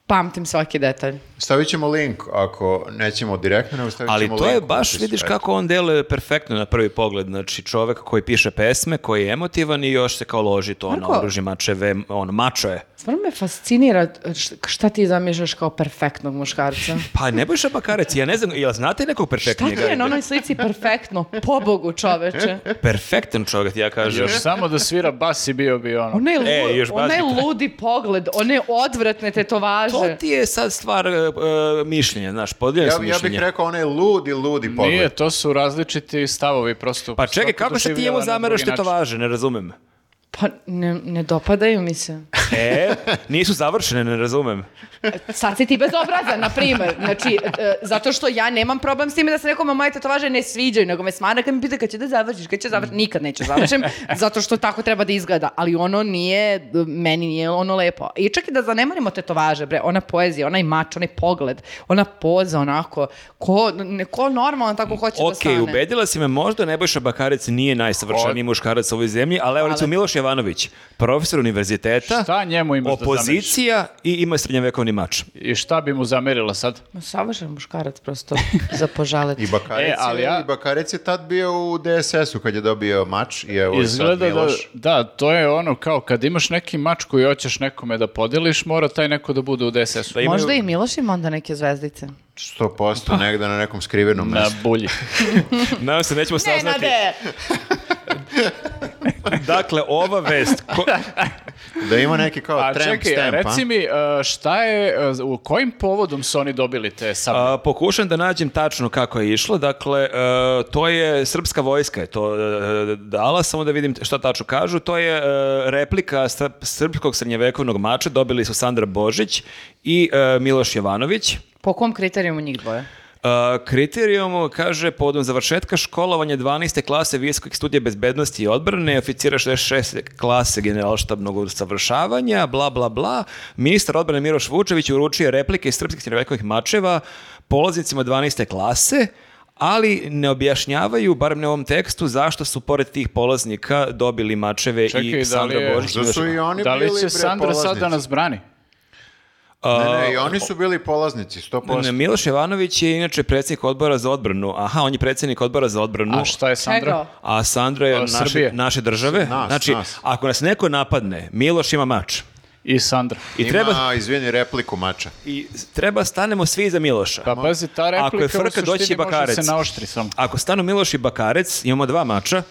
pamtim svaki detalj. Stavit ćemo link, ako nećemo direktno, nego stavit ćemo Ali link. to je u E, baš, opisu, vidiš eto. kako on deluje perfektno na prvi pogled. Znači, čovek koji piše pesme, koji je emotivan i još se kao loži to, ono, Marko. oruži mačeve, ono, mačo je. Stvarno me fascinira š- šta ti zamišljaš kao perfektnog muškarca. Pa ne bojiš bakarec, ja ne znam, jel znate nekog Šta perfektnijeg? ti je ono- na onoj slici perfektno? Pobogu čoveče. Perfektan čovek, ti ja kažem. Još samo da svira bas i bio bi ono. Onaj, lu, E, još onaj bazi- ludi pogled, one odvratne tetovaže. To ti je sad stvar e, e, mišljenja, znaš, podijeljeno Ja, sam ja mišljenje. bih rekao onaj ludi, ludi pogled. Nije, to su različiti stavovi prosto. Pa čekaj, svako kako se ti doživljava njemu na zameraš drugi način. tetovaže, ne razumem. Pa ne, ne dopadaju mi se. E, nisu završene, ne razumem. Pa Sad si ti bez obraza, na primjer. Znači, e, zato što ja nemam problem s time da se nekome moje tetovaže ne sviđaju, nego me smara kad mi pita kad će da završiš, kad će završiti. Nikad neću završim, zato što tako treba da izgleda. Ali ono nije, meni nije ono lepo. I čak i da zanemarimo tetovaže, bre, ona poezija, onaj mač, onaj pogled, ona poza onako, ko, ne, ko normalno tako hoće da Ok, stane. ubedila si me, možda Nebojša Bakarec nije najsavršeniji muškarac u ovoj zemlji, ali evo recimo Miloš Jovanović, profesor univerziteta, Šta njemu imaš da zameriš? opozicija i ima srednjevekovni mač. I šta bi mu zamerila sad? Ma, Savršen muškarac prosto za požaliti. I Bakarec, E, ali je, ja- i Bakarec je tad bio u DSS-u kad je dobio mač i evo Izgleda sad Izgleda da, Miloš. da, to je ono kao kad imaš neki mač koji hoćeš nekome da podeliš, mora taj neko da bude u DSS-u. Da imaju- Možda i Miloš ima onda neke zvezdice. 100% negde na nekom skrivenom Pa. Na mestu. bulji. Nadam se, nećemo saznati. Nenade! Dakle, ova vest, ko- Da ima neki kao A tramp čekaj, stamp, a? reci mi, uh, šta je, uh, u kojim povodom su oni dobili te sablje? a, pokušam da nađem tačno kako je išlo. Dakle, e, to je srpska vojska je to e, dala, samo da vidim šta tačno kažu. To je e, replika sr- srpskog srednjevekovnog mača, dobili su Sandra Božić i e, Miloš Jovanović. Po kom kriterijumu njih dvoje? Uh, kriterijum kaže podom završetka školovanja 12. klase visokih studija bezbednosti i odbrane, oficira 66. klase generalštabnog usavršavanja, bla, bla, bla. Ministar odbrane Miroš Vučević uručio je replike iz srpskih srednjevekovih mačeva polaznicima 12. klase, ali ne objašnjavaju, barem ne u ovom tekstu, zašto su pored tih polaznika dobili mačeve Čekaj, da i li Sandra je- Božić. Možda su i oni da li bili će bre Sandra sad da polaznici. nas brani? Ne, ne, i oni su bili polaznici, 100%. Ne, Miloš Jovanović je inače predsjednik odbora za odbranu. Aha, on je predsjednik odbora za odbranu. A šta je Sandra? Čega? A Sandra je A, od naše, Srbije. naše države. Nas, znači, nas. ako nas neko napadne, Miloš ima mač. I Sandra. I Ima, treba, izvini, repliku mača. I treba stanemo svi iza Miloša. Pa pazi, ta replika Ako je u frka, doći će suštini može da Bakarec. se naoštri samo. Ako stanu Miloš i Bakarec, imamo dva mača,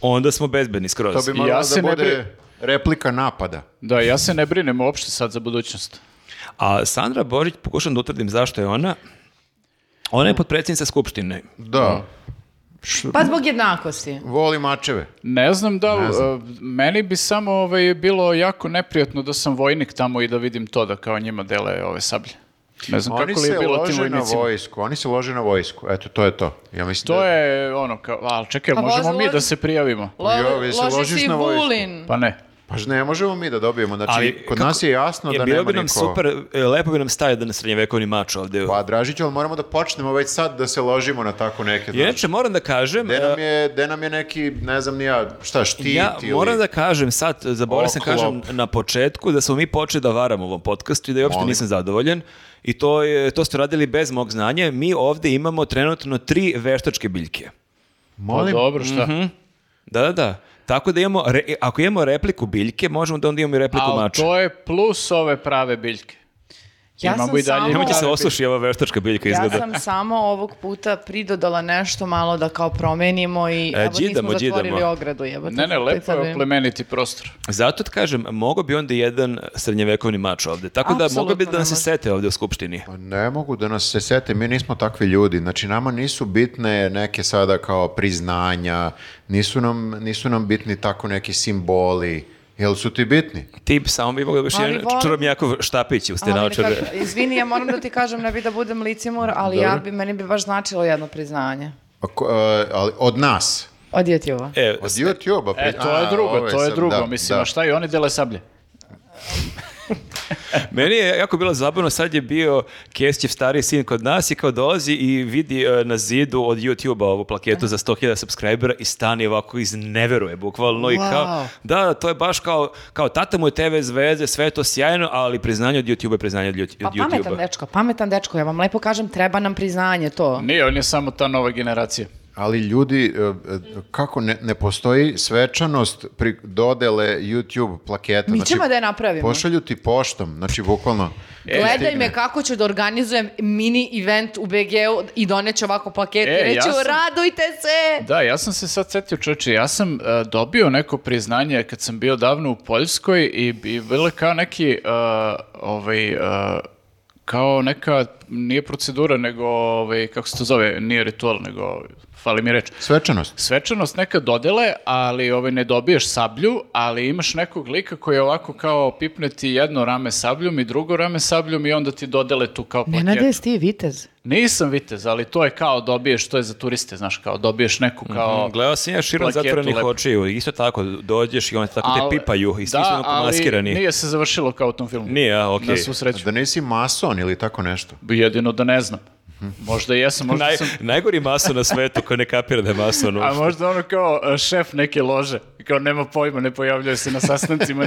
onda smo bezbedni skroz. To bi moralo da se ne bude bri- replika napada. Da, ja se ne brinem uopšte sad za budućnost. A Sandra Božić, Mm. pokušam da utvrdim zašto je ona, ona je potpredsjednica Skupštine. Da. Pa zbog jednakosti. Voli mačeve. Ne znam da, e, meni bi samo ovaj, bilo jako neprijatno da sam vojnik tamo i da vidim to da kao njima dele ove sablje. Ne znam Oni kako li je se bilo tim lože na vojnicima. vojsku, oni se lože na vojsku. Eto, to je to. Ja mislim To da... je ono kao, ali čekaj, Pa možemo vozi- mi da vozi- se prijavimo? Lo, Jo, vi se loži ložiš si na vojsku. Vulin. Pa ne. Pa ž- ne možemo mi da dobijemo, znači Ali kod kako- nas je jasno Jer da bilo nema bi nam niko. super, e, lepo bi nam staje da na srednjevekovni mač ovde. Pa Dražiću, ali moramo da počnemo već sad da se ložimo na tako neke. I znaš. inače moram da kažem... Gde nam e, je, gde nam je neki, ne znam ni ja, šta, štit Ja ili... moram da kažem sad, zaboravio sam Oklop. kažem na početku da smo mi počeli da varamo u ovom podcastu i da je uopšte Molim. nisam zadovoljan. I to, je, to ste radili bez mog znanja. Mi ovde imamo trenutno tri veštačke biljke. Pa Molim, Mhm. dobro, šta? Da, da, da. Tako da imamo, re- e, ako imamo repliku biljke, možemo da onda imamo i repliku Ali mača. to je plus ove prave biljke. Ja Imamo sam i dalje. samo- Nemojte se prave osluši ova veštačka biljka izgleda. Ja sam samo ovog puta pridodala nešto malo da kao promenimo i E, evo đidamo, nismo zatvorili đidamo. ogradu. Jebote, Ne, ne, Sad lepo bi- je oplemeniti prostor. Zato ti kažem, mogao bi onda jedan srednjevekovni mač ovde. Tako da Apsolutno mogao bi da ne nas se može. sete ovde u skupštini. Pa Ne mogu da nas se sete, mi nismo takvi ljudi. Znači, nama nisu bitne neke sada kao priznanja, nisu nam, nisu nam bitni tako neki simboli. Jel su ti bitni? Ti samo bi mogao da biš Ali jedan volim- čuromjakov štapić u Ali ne stenaočare. kažem- izvini, ja moram da ti kažem, ne bi da budem licimor, ali ja bi, meni bi baš značilo jedno priznanje. A ko- e, ali od nas. Od YouTube-a. E, Od YouTube-a. E, to je A, drugo, ove to je sam, drugo. da, Mislim, da. a šta i oni dele sablje? Meni je jako bilo zabavno, sad je bio Kesićev stariji sin kod nas i kao dolazi i vidi e, na zidu od YouTube-a ovu plaketu za 100.000 subscribera i stani ovako izneveruje bukvalno i kao, Wow. da, to je baš kao, kao tata mu je TV zvezde, sve je to sjajno, ali priznanje od YouTube-a je priznanje od, ljut- Pa od pametan YouTube-a. dečko, pametan dečko, ja vam lepo kažem, treba nam priznanje to. Nije, on je samo ta nova generacija. Ali ljudi, e, e, kako ne, ne postoji svečanost pri dodele YouTube plaketa. Znači, Mi ćemo da je napravimo. Pošalju ti poštom, znači bukvalno. E, Gledaj stigne. me kako ću da organizujem mini event u BG-u i doneću ovako paket E, i reću ja sam- radujte se! Da, ja sam se sad setio čoče, ja sam e, dobio neko priznanje kad sam bio davno u Poljskoj i, i bilo je kao neki, e, ovaj, e, kao neka, nije procedura, nego, ovaj, kako se to zove, nije ritual, nego, fali mi reč. Svečanost. svečanost neka dodele, ali ovaj, ne dobiješ sablju, ali imaš nekog lika koji je ovako kao pipne ti jedno rame sabljom i drugo rame sabljom i onda ti dodele tu kao plaketu. Nenade, jesi ti vitez? Nisam vitez, ali to je kao dobiješ, to je za turiste, znaš, kao dobiješ neku kao... Gledao sam ja širom plaketu zatvorenih lepo. očiju, isto tako, dođeš i oni tako Al- te pipaju i svi su onako maskirani. ali nije se završilo kao u tom filmu. Nije, a, okej. Na svu sreću. Da nisi mason ili tako nešto. Jedino da ne znam. Možda jesam, možda Naj- sam... Najgori mason na svetu ko ne kapira da je mason. A možda ono kao e, šef neke lože. Kao nema pojma, ne pojavljuje se na sastancima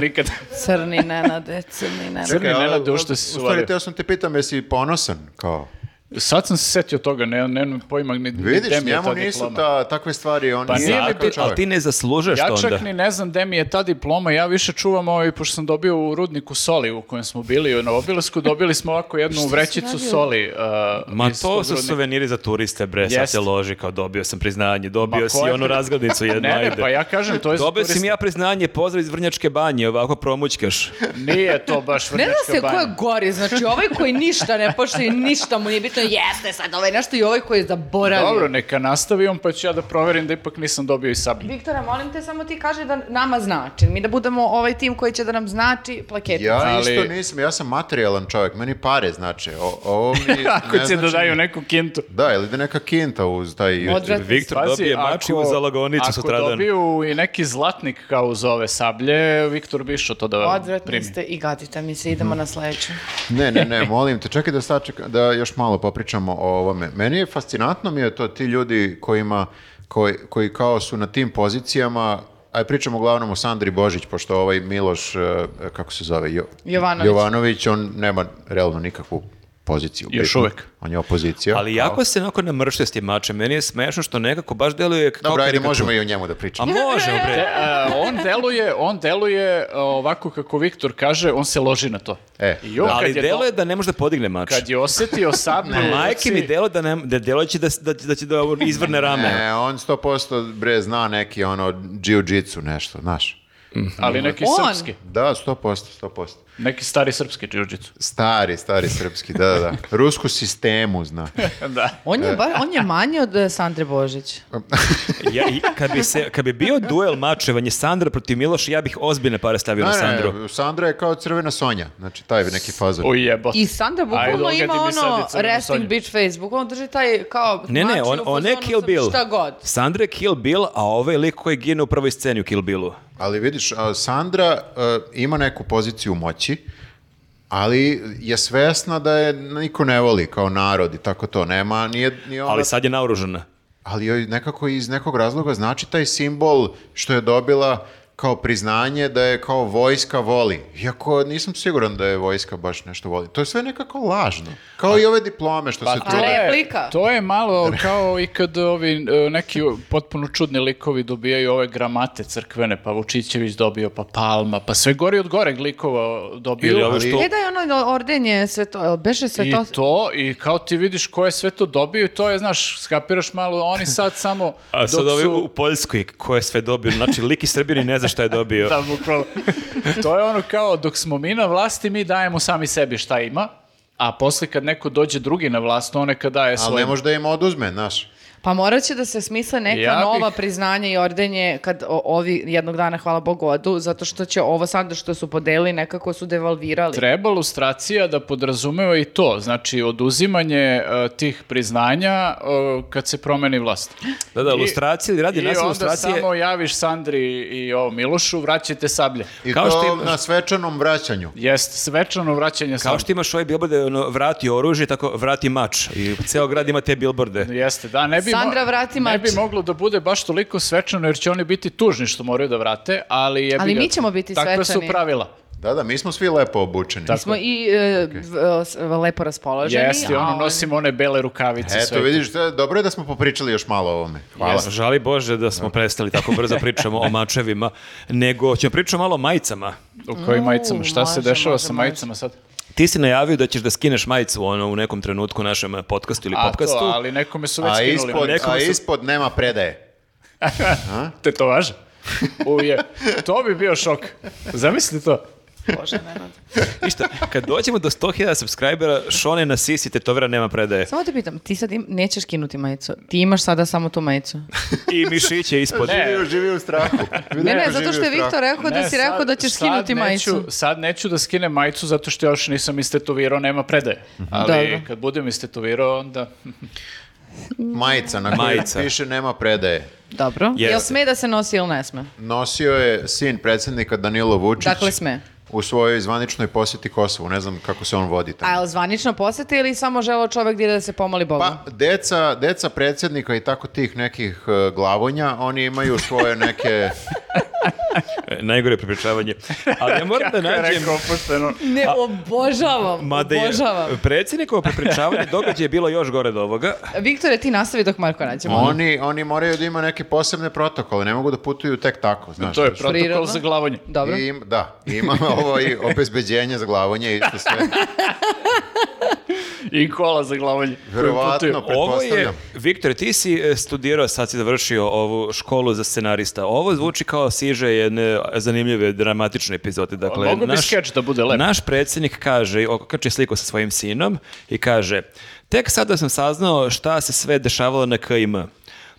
nikad. Crni Nenade, crni Nenade. Crni Čekaj, Nenade a- ušte se u stvari, suvario. teo sam te pitam, jesi ponosan? Kao, Sad sam se setio toga, ne, nemam pojma ni, ni vidiš, gde mi je ta njemu nisu diploma. ta, takve stvari, on Pa nije nije mi takav Ti- bitno, ali čovjek. ti ne zaslužeš Ja to onda. čak ni ne znam gde mi je ta diploma, ja više čuvam ovaj, pošto sam dobio u rudniku soli u kojem smo bili na obilasku, dobili smo ovako jednu vrećicu soli. uh, Ma iz to tog su rudnika. suveniri za turiste, bre, sad Jest. se loži kao dobio sam priznanje, dobio Ma ko si je onu pri- razglednicu jednu, Ne, ne, ajde. pa ja kažem, to je za Dobio turiste. sam ja priznanje, pozdrav iz Vrnjačke banje, ovako promućkaš. Nije to baš Ne vrnjačka zna se ko banja. je gori, znači ovaj koji ništa ne poštuje, ništa mu nije bitno, jeste sad ovaj nešto i ovaj koji je zaboravio. Dobro, neka nastavi on, pa ću ja da proverim da ipak nisam dobio i sablje. Viktora, molim te, samo ti kaži da nama znači. Mi da budemo ovaj tim koji će da nam znači plakete. Ja Ali- isto nisam, ja sam materijalan čovjek, meni pare znače. O, ovo mi Ako ne će da znači- daju neku kintu. Da, ili da neka kinta uz taj YouTube. Odvratno. Viktor Pazi, dobije mačiju ako- za lagonicu Ako sutradan. dobiju i neki zlatnik kao uz ove sablje, Viktor bi išao to da Odvratni primi. Mhm. ste i gadite mi se, idemo na sledeću. Ne, ne, ne, molim te, čekaj da saček, da još malo popričamo o ovome. Meni je fascinantno mi je to ti ljudi kojima, koji, koji kao su na tim pozicijama, aj pričamo uglavnom o Sandri Božić, pošto ovaj Miloš, eh, kako se zove, Jo- Jovanović. Jovanović, on nema realno nikakvu poziciju. Još bitno. uvek. On je opozicija. Ali kao- jako se onako namrštio s tim mačem, meni je smešno što nekako baš deluje kao Dobro, ajde, karikatura. možemo i o njemu da A pričamo. možemo, bre. E, on deluje, on deluje e, ovako kako Viktor kaže, on se loži na to. E, I on Ali kad, je do- deluje da ne može da podigne mač. kad je osetio sablju, u Majke mi ruci, delo da, ne, da delo će da, da, da će da izvrne rame. E, on 100% bre zna neki ono jiu-jitsu nešto, znaš. ali neki On? srpski. Da, 100%, 100%. Neki stari srpski džiuđicu. Stari, stari srpski, da, da, da. Rusku sistemu zna. da. On je, bar, on je manji od eh, Sandre Božić. Oh. Ja, i kad, bi se, kad bi bio duel mačevanje Sandra protiv Miloša, ja bih ozbiljne pare stavio na Ne, ne, Sandru. Sandra je kao crvena Sonja, znači taj neki fazor. O jebote. I Sandra bukvalno ogadi ima mi sad ono i crvenu resting Sonju. bitch face, bukvalno drži taj kao Ne, ne, mačinu on, u on je fazonu Kill sam Bill. Šta god. Sandra je Kill Bill, a ovaj lik koji gine u prvoj sceni u Kill Billu. Ali vidiš, a, Sandra a, ima neku poziciju moći, ali je svesna da je niko ne voli kao narod i tako to. Nema, nije, nije ona... Ali sad je naoružana. ali joj nekako iz nekog razloga znači taj simbol što je dobila kao priznanje da je kao vojska voli. Iako nisam siguran da je vojska baš nešto voli. To je sve nekako lažno. Kao i ove diplome što se Pa tu... to je- Ne, replika. To je malo kao i kad ovi e, neki potpuno čudni likovi dobijaju ove gramate crkvene, pa Vučićević dobio, pa Palma, pa sve gori od gore likova dobio. Ili ovo što... E da je ono ordenje sve to, jel beše sve I to... to, i kao ti vidiš ko je sve to dobio i to je, znaš, skapiraš malo, oni sad samo A sad dok ovi su... u Poljskoj, ko je sve dobio? Znači, lik iz Srbije ni ne zna šta je dobio. Da, bukvalno. to je ono kao, dok smo mi na vlasti, mi dajemo sami sebi šta ima, a posle kad neko dođe drugi na vlast, on neka daje ali ne E, svoje... može da im oduzme, znaš. Pa morat će da se smisle neka Ja bih- nova priznanja i ordenje kad o- ovi jednog dana, hvala Bogu, odu, zato što će ovo sad što su podelili nekako su devalvirali. Treba lustracija da podrazumeva i to, znači oduzimanje e, tih priznanja e, kad se promeni vlast. Da, da, I- ilustracije, radi I nas onda ilustracije. samo javiš Sandri i o Milošu, vraćajte sablje. I Kao to što im- na svečanom vraćanju. Jest, svečano vraćanje sablje. Kao što imaš ovaj billboard da je ono, vrati oružje, tako vrati mač. I ceo grad ima te billboarde. Jeste, da, ne bi, mo- Sandra, vrati ne mač. bi moglo da bude baš toliko svečano jer će oni biti tužni što moraju da vrate, ali je Ali mi ćemo biti Takve su svečani. pravila. Da, da, mi smo svi lepo obučeni. Mi smo i e, v- e, s- lepo raspoloženi. Jeste, i a ono oni- nosimo one bele rukavice. sve Eto, to. vidiš, da, dobro je da smo popričali još malo o ovome. Hvala. Jeste, Žali Bože da smo prestali tako brzo pričamo o mačevima, nego ćemo pričati malo o majicama. U kojim majicama? Šta se može, dešava može, sa majicama sad? Ti si najavio da ćeš da skineš majicu ono, u nekom trenutku u našem eh, podcastu ili A to, podcastu. ali nekome su već A skinuli. ispod, Nekome a su- ispod nema predaje. Te to važe? Uje, to bi bio šok. Zamisli to. Ništa, kad dođemo do 100.000 subscribera, Šone na sisi tetovira nema predaje. Samo te pitam, ti sad im- nećeš kinuti majicu. Ti imaš sada samo tu majicu. I mišiće ispod. Ne. Živi, živi u strahu. Ne, ne, Živi zato u što je strahu. Viktor rekao Pa da Ne, si rekao sad- da ćeš sad skinuti neću- majicu. Sad neću da skinem majicu zato što još nisam istetovirao, nema predaje. Ali Mhm. Da, da. kad budem istetovirao, onda... Majica na kojoj Majica. piše nema predaje. Dobro. Jel Jeste. sme da se nosi ili ne sme? Nosio je sin predsjednika Danilo Vučić Dakle sme. u svojoj zvaničnoj posjeti Kosovu. Ne znam kako se on vodi A tamo. jel zvanično posete ili samo želeo čovek da ide da se pomoli Bogu? Pa, deca, deca predsjednika i tako tih nekih e, glavonja, oni imaju svoje neke... E, Najgore prepričavanje. Ali ja moram da nađem... Rekao opušteno. Ne, obožavam, Mada je obožavam. predsjednikovo prepričavanje događaja je bilo još gore od ovoga. Viktore, ti nastavi dok Marko nađemo. ono? Oni, oni moraju da ima neke posebne protokole, ne mogu da putuju tek tako, znaš. znači. To je protokol Prirodno. za glavanje. Dobro. I im- da, i imamo ovo i obezbeđenje za glavonje i isto sve. I kola za glavanje. koje Verovatno. putuju. Ovo je, Pretpostavljam. Viktor, ti si e, studirao, sad si završio ovu školu za scenarista. Ovo zvuči kao siže jedne zanimljive, dramatične epizode. Dakle, Mogu bi skeč da bude lep. Naš predsjednik kaže, i okači sliku sa svojim sinom i kaže, tek sada sam saznao šta se sve dešavalo na KIM.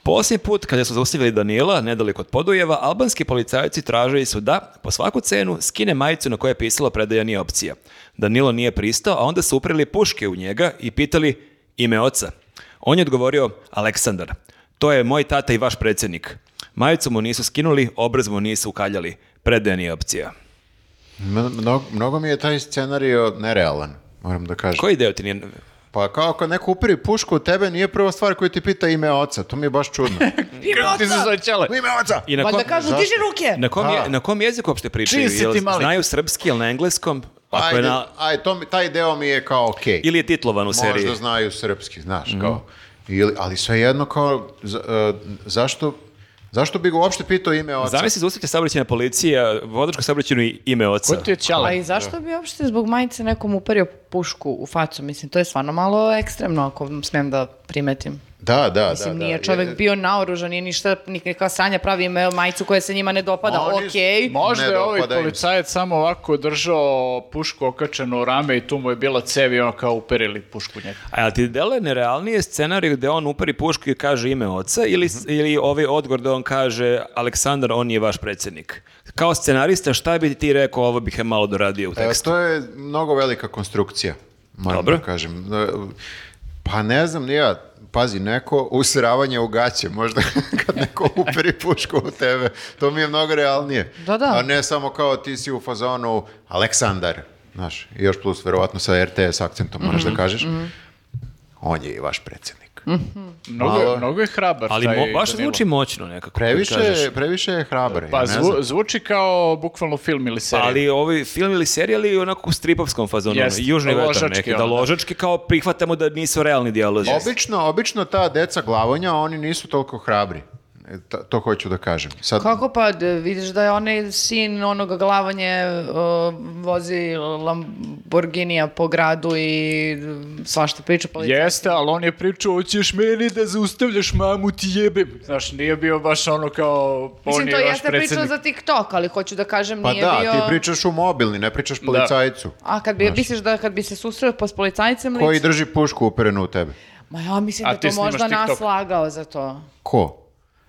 Posljednji put, kada su zaustavili Danila, nedaleko od Podujeva, albanski policajci tražili su da, po svaku cenu, skine majicu na kojoj je pisalo predaja nije opcija. Danilo nije pristao, a onda su uprili puške u njega i pitali ime oca. On je odgovorio Aleksandar. To je moj tata i vaš predsjednik. Majicu mu nisu skinuli, obraz mu nisu ukaljali. Predaja nije opcija. Mno- Mnogo, mnogo mi je taj scenario nerealan, moram da kažem. Koji deo ti nije... Pa kao kad neko upiri pušku u tebe, nije prva stvar koju ti pita ime oca. To mi je baš čudno. Kako ti se zove Ćale? ime oca! I na Pa kom, da kažu, zašto? diži ruke! na kom, je- A. na kom jeziku uopšte pričaju? Čiji si Jel ti mali? Znaju srpski ili na engleskom? Ako je Ajde, na, aj, to, mi- taj deo mi je kao okej. ili je titlovan u seriji? Mhm. Možda znaju srpski, znaš, kao. Ili, ali svejedno kao, za- e, zašto, zašto bi ga uopšte pitao ime oca? Zamisli zaustavite saobraćajna policija, vodačka saobraćajnu i ime Ko oca. ti je Pa A Ćale? i zašto bi uopšte zbog majice nekom uperio pušku u facu? Mislim, to je stvarno malo ekstremno, ako smem da primetim. Da, da, Mislim, da. da. nije čovjek Je- bio naoružan, nije ništa, nikakva sanja pravi me- majicu koja se njima ne dopada, Oni- okej. Možda Ne je ovaj dopada im se. policajac samo ovako držao pušku okačenu u rame i tu mu je bila cev i ono kao uperili pušku njega. A jel ti dele nerealnije scenarij gde on uperi pušku i kaže ime oca ili, ili ovaj odgovor da on kaže Aleksandar, on je vaš predsjednik? Kao scenarista, šta bi ti rekao, ovo bih je malo doradio u E, tekstu? to je mnogo velika konstrukcija, moram Dobro. da kažem. E, Pa ne znam, ni ja, pazi, neko usravanje u gaće, možda kad neko uperi pušku u tebe, to mi je mnogo realnije. Da, da. A ne samo kao ti si u fazonu Aleksandar, znaš, i još plus verovatno sa RTS akcentom moraš Mhm, da kažeš, on je i vaš predsjednik. Mnogo, je- Malo. mnogo je hrabar Ali taj mo, baš Danilo. zvuči moćno nekako. kad kažeš. Previše, previše je hrabar, ja Pa ne znam. zvu- zvuči kao bukvalno film ili serija. Ali ovi film ili serija ali onako u stripovskom fazonu, Jeste, ono, južni vetar ložački neki, ono, da da. ložački kao prihvatamo da nisu realni dijalozi. Obično, obično ta deca glavonja, oni nisu toliko hrabri. E, ta- to hoću da kažem. Sad, Kako pa, d- vidiš da je onaj sin onoga glavanje uh, vozi Lamborghinija po gradu i svašta priča pa policija. Jeste, ali on je pričao, hoćeš meni da zaustavljaš mamu ti jebem. Znaš, nije bio baš ono kao, on Mislim, to je vaš jeste priča predsjednik. za TikTok, ali hoću da kažem, Pa nije da, bio... ti pričaš u mobilni, ne pričaš policajcu. A kad bi, misliš da kad bi se susreo pa s policajcem Koji lice- drži pušku uperenu u tebe? Ma ja mislim A da ti to snimaš možda nas TikTok? lagao za to. Ko?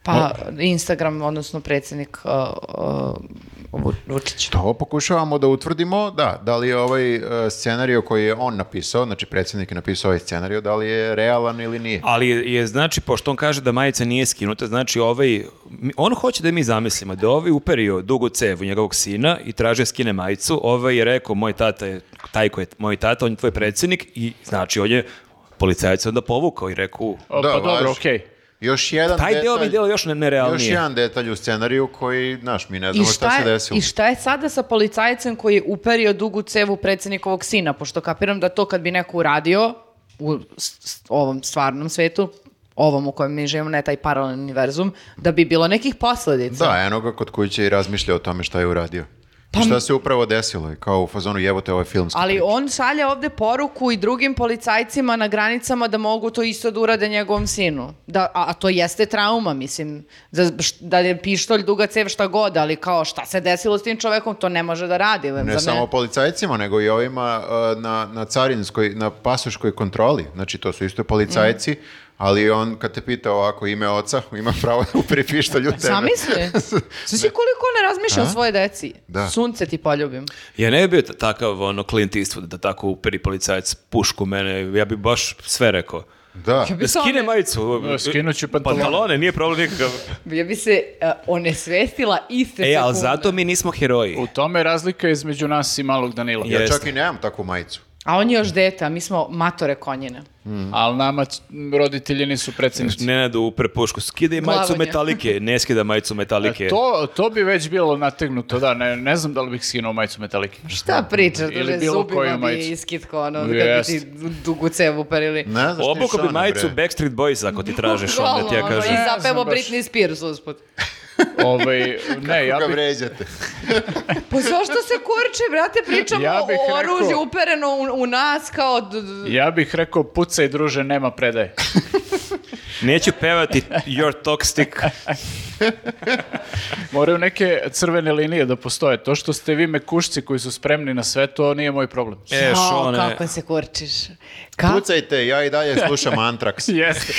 Pa Instagram, odnosno predsjednik uh, uh, Vu- Vučić. To pokušavamo da utvrdimo, da, da li je ovaj e, scenario koji je on napisao, znači predsjednik je napisao ovaj scenario, da li je realan ili nije. Ali je, je, znači, pošto on kaže da majica nije skinuta, znači ovaj, mi- on hoće da mi zamislimo da ovaj uperio dugu cevu njegovog sina i traže da skine majicu, ovaj je rekao, moj tata je taj koji je moj tata, on je tvoj predsjednik i znači on je policajac onda povukao i rekao, O, Da, pa dobro, važi. okej. Još jedan taj deo mi detalj, delo još ne- još nerealnije. jedan detalj u scenariju koji, znaš, mi ne I znamo šta, šta, se je, desilo. I šta je sada sa policajcem koji je uperio dugu cevu predsjednikovog sina, pošto kapiram da to kad bi neko uradio u s- s- ovom stvarnom svetu, ovom u kojem mi živimo, ne taj paralelni univerzum, da bi bilo nekih posledica. Da, eno ga kod kuće i razmišlja o tome šta je uradio. I šta se upravo desilo? I Kao u fazonu jebote ovaj filmski. Pa Ali on šalje ovdje poruku i drugim policajcima na granicama da mogu to isto da urade njegovom sinu. Da, a, a to jeste trauma, mislim. Da, št- da je pištolj, duga cev, šta god, ali kao šta se desilo s tim čovekom, to ne može da radi. za Ne mene- samo policajcima, nego i ovima uh, na, na carinskoj, na pasoškoj kontroli. Znači, to su isto policajci, Mm. ali on, kad te pita ovako ime oca, ima pravo da upiri pištolj u tebe. Zamisli. Znači koliko ne razmišlja o svojoj deci. Da. Sunce ti poljubim. Ja ne bi bio t- takav ono, Clint Eastwood da tako uperi policajac pušku u mene, ja bi baš sve rekao. Da. Ja bi Da se, skine one- majicu. Da, skinut ću pantalone. Pantalone, nije problem nikakav. ja bi se e, onesvestila iste E, ali sekunde. zato mi nismo heroji. U tome je razlika između nas i malog Danila. Je. Ja Jeste. čak i nemam takvu majicu. A on je još deta, mi smo matore konjine. Ali Mhm. nama c- roditelji nisu predsjednici. Nenadu upre pušku, skida i majicu Glavanje. metalike, ne skida majicu metalike. E, To, to bi već bilo nategnuto, da, ne, ne znam da li bih skinuo majicu metalike. Šta pričaš, Ili druže, bilo koju zubima bi majicu. iskitko, ono, kad bi Jest. ti dugu cevu uperili. Ne znaš ti Obuko bi Šone, majicu bre. Backstreet Boys ako ti tražiš, onda ti ja Bukvalno, ono, kažem. I Ne zapemo znam baš. Britney Spears usput. Ovaj, ne, ja Koga bih... vređate? Pa zašto se kurče, brate, pričamo Ja bih o rekao- oružju upereno u, u nas kao... d- d- Ja bih rekao pucaj druže, nema predaje. Neću pevati Your Toxic. Moraju neke crvene linije da postoje. To što ste vi mekušci koji su spremni na sve, to nije moj problem. E, Jao, Šone. kako se kurčiš. Kako? Pucajte, ja i dalje slušam Antrax. Jeste.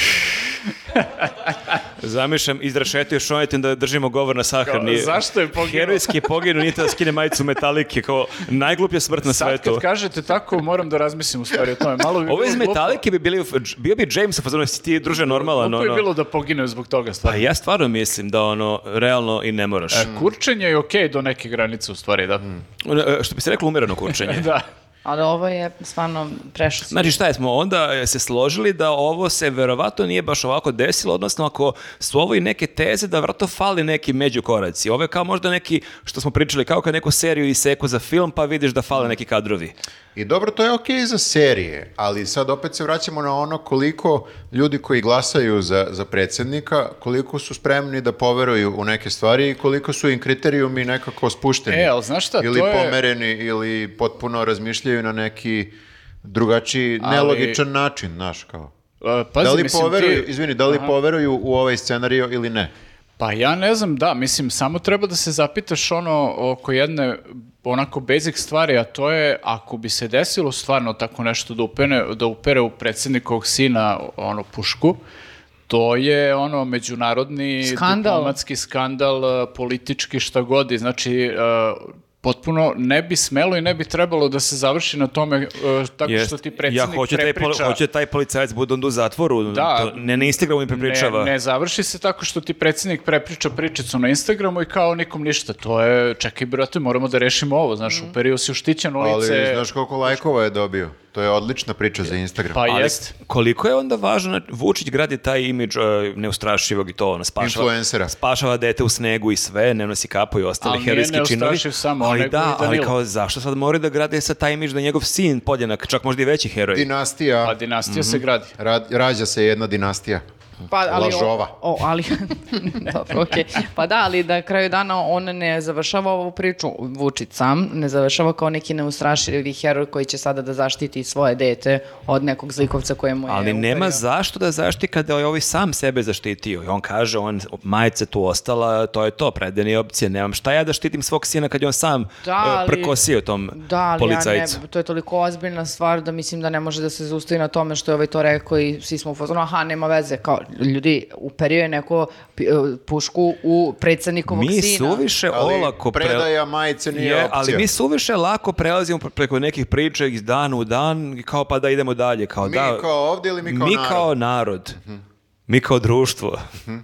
Zamišljam, izrašetio Šonetin da držimo govor na sahrani. Kao, zašto je poginuo? Herojski je poginuo, nije da skine majicu metalike, kao najgluplja smrt na Sad svetu. kad kažete tako, moram da razmislim u stvari o tome. Malo bi Ovo iz bilo glupo. metalike bi bili, bio bi James u fazonu, jesi ti druže normalan, Glupo je ono. bilo da pogine zbog toga Pa stvari. Znači, ja stvarno mislim da ono, realno i ne moraš. Kurčenje je okej do neke granice u stvari, da. E. Ono, e, Što bi se reklo, umjereno kurčenje. Da. Ali ovo je stvarno prešlo. Znači šta smo onda e, se složili da ovo se verovatno nije baš ovako desilo, odnosno ako su ovo i neke teze da vrto fali neki međukoraci. Ovo je kao možda neki, što smo pričali, kao kad neku seriju iseku za film pa vidiš da fale neki kadrovi. I dobro, to je okej za serije, ali sad opet se vraćamo na ono koliko ljudi koji glasaju za, za predsjednika, koliko su spremni da poveruju u neke stvari i koliko su im kriterijumi nekako spušteni. E, ali znaš šta, Ili to je- pomereni, ili potpuno razmišljaju na neki drugačiji, Ali- nelogičan način, znaš, kao. E, Pazi, da li mislim, poveruju, ti- izvini, da li poveruju u ovaj scenario ili ne? Pa ja ne znam, da, mislim, samo treba da se zapitaš ono oko jedne onako basic stvari, a to je ako bi se desilo stvarno tako nešto da, upene, da upere u predsjednikovog sina ono pušku, to je ono međunarodni Skandal. diplomatski skandal, e, politički šta god, i znači e, potpuno ne bi smelo i ne bi trebalo da se završi na tome e, tako Jest. što ti predsjednik ja hoću prepriča. Taj, poli- hoću taj policajac bude onda u zatvoru. Da. to ne na Instagramu mi prepričava. Ne, ne završi se tako što ti predsjednik prepriča pričicu na Instagramu i kao nikom ništa. To je, čekaj brate, moramo da rešimo ovo, znaš, Mhm. uperio si u štićeno Ali lice. znaš koliko lajkova je dobio? To je odlična priča za Instagram. pa Ali jest. koliko je onda važno, znači, Vučić gradi taj imidž e, neustrašivog i to, ono, spašava, Influencera. spašava dete u snegu i sve, ne nosi kapu i ostali Ali nije herojski činovi. neustrašiv samo, ali nego da, i ali Danilo. kao zašto sad mora da gradi sa taj imidž da je njegov sin podjednak, čak možda i veći heroj. Dinastija. Pa dinastija se gradi. Ra- rađa se jedna dinastija. Pa, ali o- Lažova. O, ali, dobro, okej. Pa da, ali da kraju dana on ne završava ovu priču, Vučić sam, ne završava kao neki neustrašivi heroj koji će sada da zaštiti svoje dete od nekog zlikovca koje mu je E, Ali nema uperio. zašto da zašti kada je ovaj sam sebe zaštitio. I on kaže, on, majice tu ostala, to je to, predene je opcije, nemam šta ja da štitim svog sina kad je on sam Da, e, ali- prkosio tom Da, ali ja ne, policajcu. to je toliko ozbiljna stvar da mislim da ne može da se zaustavi na tome što je ovaj to rekao i svi smo u fazonu, aha, nema veze, kao ljudi, uperio je neko pi- e, pušku u predsednikovog Mi sina. suviše Ali E, olako... pre- predaja majice nije Je, opcija. ali mi suviše lako prelazimo pre- preko nekih priča iz dana u dan, kao pa da idemo dalje. Kao, Mi da, kao ovdje ili mi kao narod? kao narod. Mi kao društvo.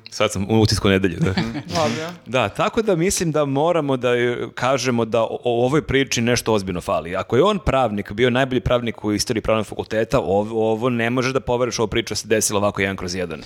Sad sam u utisku nedelje. Da. Mhm. Dobro. Da, tako da mislim da moramo da e, kažemo da o o ovoj priči nešto ozbiljno fali. Ako je on pravnik, bio najbolji pravnik u istoriji pravnog fakulteta, ovo, ovo ne možeš da poveriš ovo priča se desila ovako jedan kroz jedan.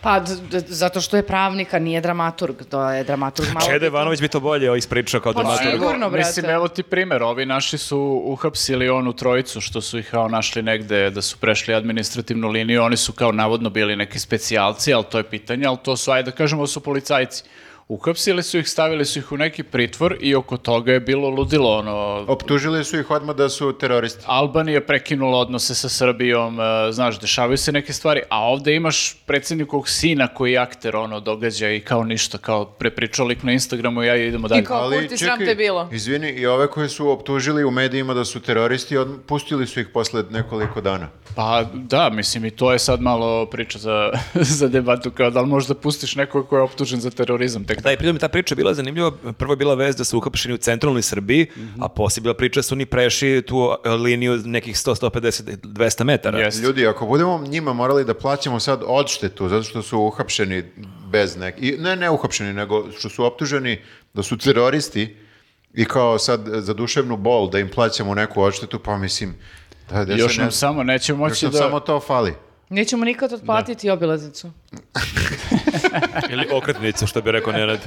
Pa, d- d- zato što je pravnik, a nije dramaturg. To Pa je dramaturg malo... Čede Ivanović bi to bolje ispričao kao Pa, dramaturg. evo, sigurno, brate. Mislim, evo ti primjer, ovi naši su uhapsili onu trojicu što su ih kao našli negde da su prešli administrativnu liniju, oni su kao navodno bili neki specijalci, ali to je pitanje, ali to su, ajde da kažemo, su policajci. Uhapsili su ih, stavili su ih u neki pritvor i oko toga je bilo ludilo, ono, Optužili su ih odmah da su teroristi. Albanija prekinula odnose sa Srbijom, e, znaš, dešavaju se neke stvari, a ovde imaš predsjednikovog sina koji je akter ono događa i kao ništa, kao prepričao lik na Instagramu i ja idemo dalje. I kao- pa Kurti, sram te bilo. izvini, i ove koje su optužili u medijima da su teroristi, odm- pustili su ih posle nekoliko dana. Pa da, mislim i to je sad malo priča za, za debatu, kao da li možda pustiš nekog ko je optužen za terorizam. Tek Da, i pritom je ta priča bila zanimljiva. Prvo je bila vez da su uhapšeni u centralnoj Srbiji, Mhm. a poslije je bila priča da su oni prešli tu e, liniju nekih 100, 150, 200 metara. Jeste. Ljudi, ako budemo njima morali da plaćamo sad odštetu, zato što su uhapšeni bez nek... I, ne, ne uhapšeni, nego što su optuženi da su teroristi i kao sad e, za duševnu bol da im plaćamo neku odštetu, pa mislim... Da, da se Još ne- nam samo neće još moći nam da... samo to fali. Nećemo nikad otplatiti obilaznicu. Ili okretnicu, što bi rekao Nenad.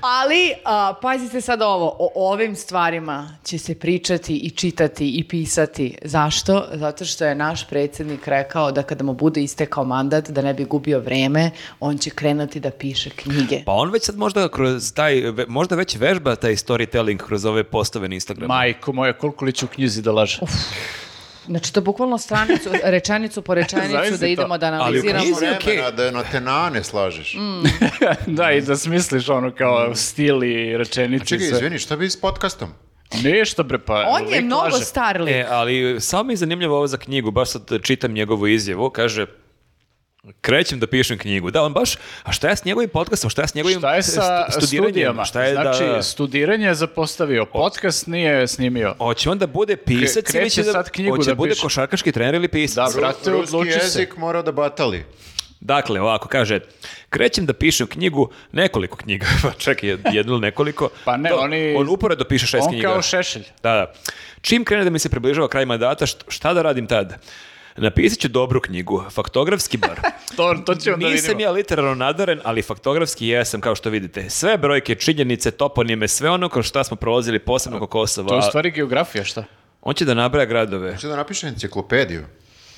Ali, a, pazite sad ovo, o ovim stvarima će se pričati i čitati i pisati. Zašto? Zato što je naš predsjednik rekao da kada mu bude istekao mandat, da ne bi gubio vreme, on će krenuti da piše knjige. Pa on već sad možda kroz taj, ve- možda već vežba taj storytelling kroz ove postove na Instagramu. Majko moja, koliko li ću u knjizi da laže? Znači, to bukvalno stranicu, rečenicu po rečenicu Zavisi da to. idemo da u analiziramo. knjizi- Vremena Mislim, okej. da na tenane slažeš. Mm. da, i da smisliš ono kao stil i rečenice. Čekaj, i sve. izvini, šta bi s podcastom? Ništa bre, pa On je lik mnogo laže. star lik. E, ali samo mi je zanimljivo ovo za knjigu, baš sad čitam njegovu izjavu, kaže krećem da pišem knjigu. Da, on baš, a šta je s njegovim podcastom, šta je s njegovim Šta je sa stu- studiranjem? studijama? Šta je znači, da... studiranje je zapostavio, podcast nije snimio. Hoće on da bude pisac Kre- ili kreće će da, sad knjigu hoće da bude piše. košarkaški trener ili pisac? Da, brate, Ruski odluči se. jezik mora da batali. Dakle, ovako kaže, krećem da pišem knjed- nekoliko knjiga, pa čak je jednu ili nekoliko. Pa ne, To, oni- On uporedo piše šest On knjiga. kao šešelj. Da, da. Čim krene da mi se približava kraj mandata, št- šta da radim tad? Napisat ću dobru knjigu, faktografski bar. To, to ćemo da Nisam vidimo. ja literarno nadaren, ali faktografski jesam, kao što vidite. Sve brojke, činjenice, toponime, sve ono kroz šta smo prolazili, posebno oko Kosova. To je u stvari geografija, šta? On će da nabraja gradove. Hoće da napiše enciklopediju.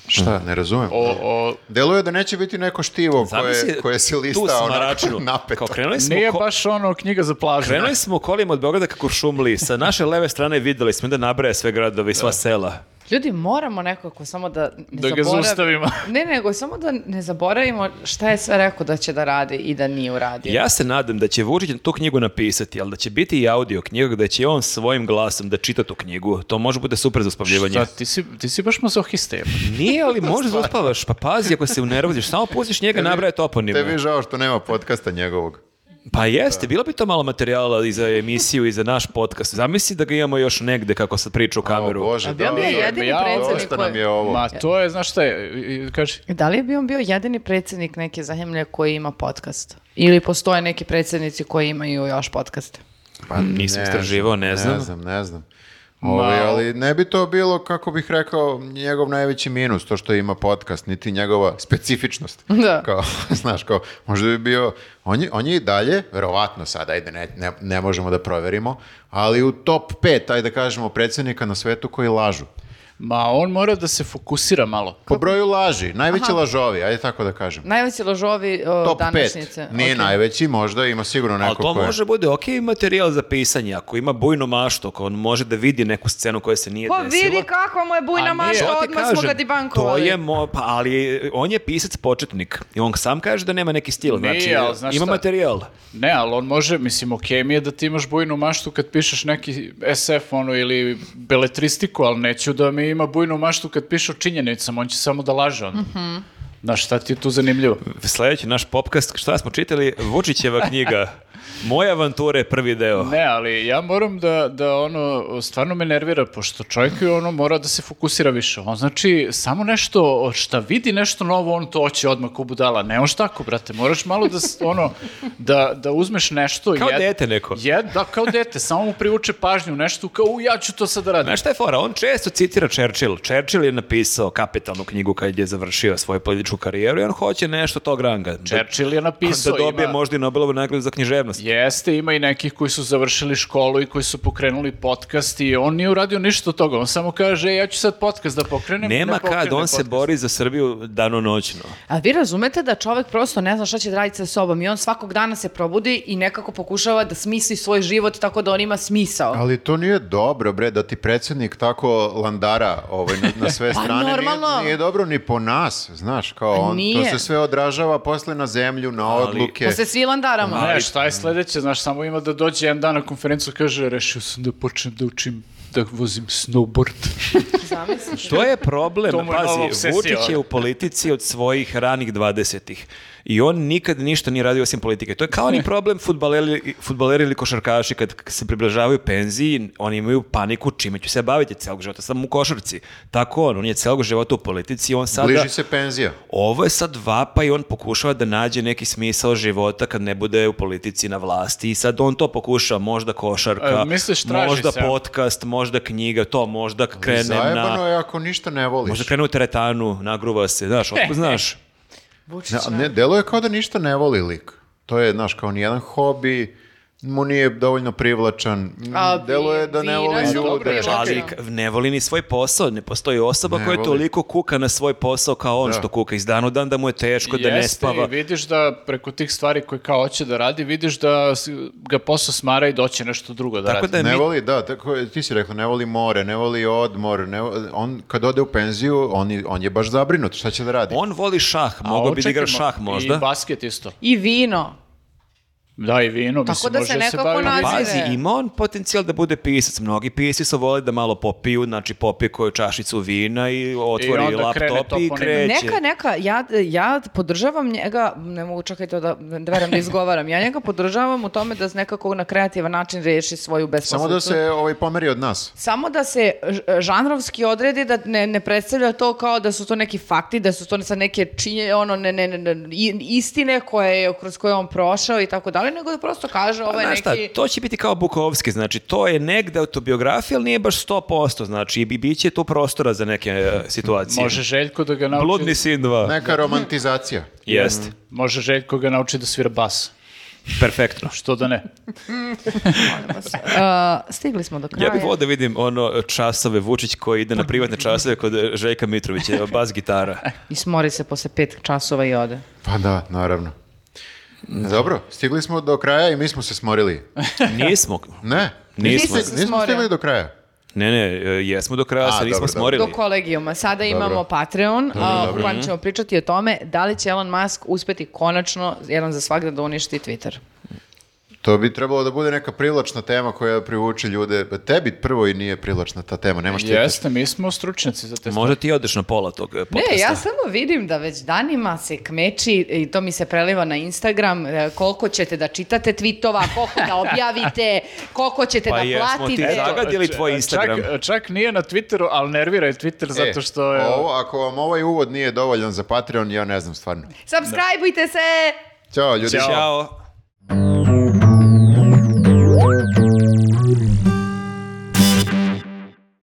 Šta, ne razumem. O, o, Deluje da neće biti neko štivo koje, Zamisli koje se tu lista onako smaračinu. napeto. Kao krenuli smo nije ko- baš ono knjiga za plažu. Krenuli smo kolima od Beograda kako šumli. Sa naše leve strane videli smo da nabraja sve gradove i sva sela. Ljudi, moramo nekako samo da ne Da ga zaboravi- zaustavimo. ne, nego samo da ne zaboravimo šta je sve rekao da će da radi i da nije uradio. Ja se nadam da će Vučić tu knjigu napisati, ali da će biti i audio knjiga, da će on svojim glasom da čita tu knjigu. To može bude super za uspavljivanje. Šta, ti si, ti si baš mazohista. jebote. Nije, ali možda da uspavaš, pa pazi ako se unervoziš, samo pustiš njega nabraje Tebi je toponime. žao što nema podcasta njegovog. Pa jeste, bilo bi to malo materijala i za emisiju i za naš podcast. Zamisli da ga imamo još negde kako se priča u kameru. O Bože, A bio da, mi je da, jedini ja, predsednik dosta nam koji- je ovo. Ma to je, znaš šta je, i- i- kaži. Da li je bio, bio jedini predsjednik neke zemlje koji ima podcast? Ili postoje neki predsjednici koji imaju još podcaste? Pa, nisam ne istraživao, ne znam. Ne znam, ne znam. Ovaj, ali ne bi to bilo, kako bih rekao, njegov najveći minus, to što ima podcast, niti njegova specifičnost. Da. Kao, znaš, kao, možda bi bio, on je, on je i dalje, verovatno sad, ajde, ne, ne, ne možemo da proverimo, ali u top 5, ajde kažemo, predsjednika na svetu koji lažu. Ma on mora da se fokusira malo. Po broju laži, najveći lažovi, ajde tako da kažem. Najveći lažovi o, Top 5, današnjice. nije Ok. najveći, možda ima sigurno neko Ali to ko je- može bude ok materijal za pisanje, ako ima bujno mašto, ako on može da vidi neku scenu koja se nije Pa desila. vidi kakva mu je bujna A nije, mašta, To ti odmah smo kažem, ga dibankovali. To je mo, pa, ali on je pisac početnik i on sam kaže da nema neki stil, Nije, znači ali znaš ima šta? materijal. Ne, ali on može, mislim, okej mi je da ti imaš bujnu maštu kad pišeš neki SF ono, ili beletristiku, ali neću da mi ima bujnu maštu kad piše o činjenicama, on će samo da laže onda. Znaš, šta ti je tu zanimljivo? Sljedeći naš popkast, šta smo čitali? Vučićeva knjiga. Moje avanture, prvi deo. Ne, ali ja moram da, da ono, stvarno me nervira, pošto čovjek je ono, mora da se fokusira više. On znači, samo nešto, šta vidi nešto novo, on to hoće odmah ko budala. Ne moš tako, brate, moraš malo da, s- ono, da, da uzmeš nešto. Kao dete neko. Jed, da, kao dete, samo mu privuče pažnju, nešto kao, u, ja ću to sad da radim. Znaš šta je fora? On često citira Churchill. Churchill je napisao kapitalnu knjigu kad je završio svoju političku karijeru i on hoće nešto tog ranga. Da- Churchill je napisao, da dobije ima- možda i Nobelovu nagradu za književnost. Jeste, ima i nekih koji su završili školu i koji su pokrenuli podcast i on nije uradio ništa od toga, on samo kaže, "E, ja ću sad podcast da pokrenem. i Nema ne pokrene kad, on se podcast. bori za Srbiju danonoćno. A vi razumete da čovjek prosto ne zna šta će da raditi sa sobom i on svakog dana se probudi i nekako pokušava da smisli svoj život tako da on ima smisao. Ali to nije dobro, bre, da ti predsjednik tako landara ovaj, na, na sve Pa, strane. normalno. Nije, nije dobro ni po nas, znaš, kao on, to nije. se sve odražava posle na zemlju, na odluke. Pa se svi landaramo. Ne, šta je sledeće, znaš, samo ima da dođe jedan dan na konferencu i kaže, rešio sam da počnem da učim da vozim snowboard. To je problem. To mu je nova Pazi, obsesija. ono. Vučić je u politici od svojih ranih 20-ih. I on nikad ništa nije radio osim politike. To je kao ni problem futbaleri, futbaleri ili košarkaši kad k- se približavaju penziji, oni imaju paniku čime ću se baviti celog života, sam u košarci. Tako on, on je celog života u politici i on sada... Bliži se penzija. Ovo je sad vapa i on pokušava da nađe neki smisao života kad ne bude u politici na vlasti i sad on to pokušava, možda košarka, E, misliš, traži možda se. podcast, možda knjiga, to možda krene na... Zajebano je ako ništa ne voliš. Možda krenu u teretanu, nagruva se, E, znaš, otkud znaš. Ne, ne, deluje kao da ništa ne voli lik. To je, znaš, kao nijedan hobi, mu nije dovoljno privlačan, m, A deluje vi- da ne vi voli nas dobro ljude. privlačite. Ali k- ne voli ni svoj posao, ne postoji osoba Ne koja voli. toliko kuka na svoj posao kao on što kuka iz dana u dan da mu je teško, da ne spava. i vidiš da preko tih stvari koje kao hoće da radi, vidiš da s- ga posao smara i doće nešto drugo da Tako radi. da je Ne mi- voli, da, tako, je, ti si rekla, ne voli more, ne voli odmor, ne vo- on kad ode u penziju, on, je- on je baš zabrinut, šta će da radi? on voli šah, mogao ovo bi da igra čekaj, šah mo- možda. I basket isto. I vino. Da, i vino, Tako mislim, da može se se nekako bavi. nađe. Pa Pazi, Nazire. ima on potencijal da bude pisac. Mnogi pisci su voli da malo popiju, znači popije koju čašicu vina i otvori onda krene laptop i toponim. kreće. Neka, neka, ja, ja podržavam njega, ne mogu čak i to da, da verujem da izgovaram, ja njega podržavam u tome da nekako na kreativan način reši svoju Samo besposlicu. da se ovaj, pomeri od nas. Samo da se ž- žanrovski odredi da ne, ne predstavlja to kao da su to neki fakti, da su to sad neke činje, ono, ne, ne, ne, ne, i- istine koje je, kroz koje je on prošao i tako dalje, nego da prosto kaže ovo je Pa Znaš neki... šta, to će biti kao Bukovski, znači to je negde autobiografija, ali nije baš 100%, znači i bi- bit će tu prostora za neke e, situacije. Pa, Može Željko da ga nauči. Bludni sin 2. Neka romantizacija. Jeste, Može Željko ga nauči da svira bas. perfektno. Što da ne? Uh, stigli smo do kraja. Ja bih volio da vidim ono časove Vučić koji ide na privatne časove kod e, Željka Mitrovića, evo, bas gitara. I smori se posle pet časova i ode. Pa da, naravno. Dobro, stigli smo do kraja i mi smo se smorili. Nismo, Ne? Nismo. Nisam se Nismo smorio. stigli do kraja. Ne, ne, e, jesmo do kraja, A, se nismo dobro, dobro. smorili. Do kolegijuma. Sada imamo Patreon, a, u kojem ćemo pričati o tome da li će Elon Musk uspeti konačno jedan za svakda da uništi Twitter. E, To bi trebalo da bude neka privlačna tema koja privuče ljude. Tebi prvo i nije privlačna ta tema, nemaš ti. Jeste, mi smo stručnjaci za te stvari. Možda ti odeš na pola tog e, podcasta. Ne, ja samo vidim da već danima se kmeči i to mi se preliva na Instagram e, koliko ćete da čitate tweetova, koliko da objavite, koliko ćete Pa da jesmo ti platite. zagadili tvoj Instagram. E, Čak, čak nije na Twitteru, ali nervira je Twitter zato što je... E, Ovo, ako vam ovaj uvod nije dovoljan za Patreon, ja ne znam stvarno. Subscribeujte se! Ćao ljudi. Ćao.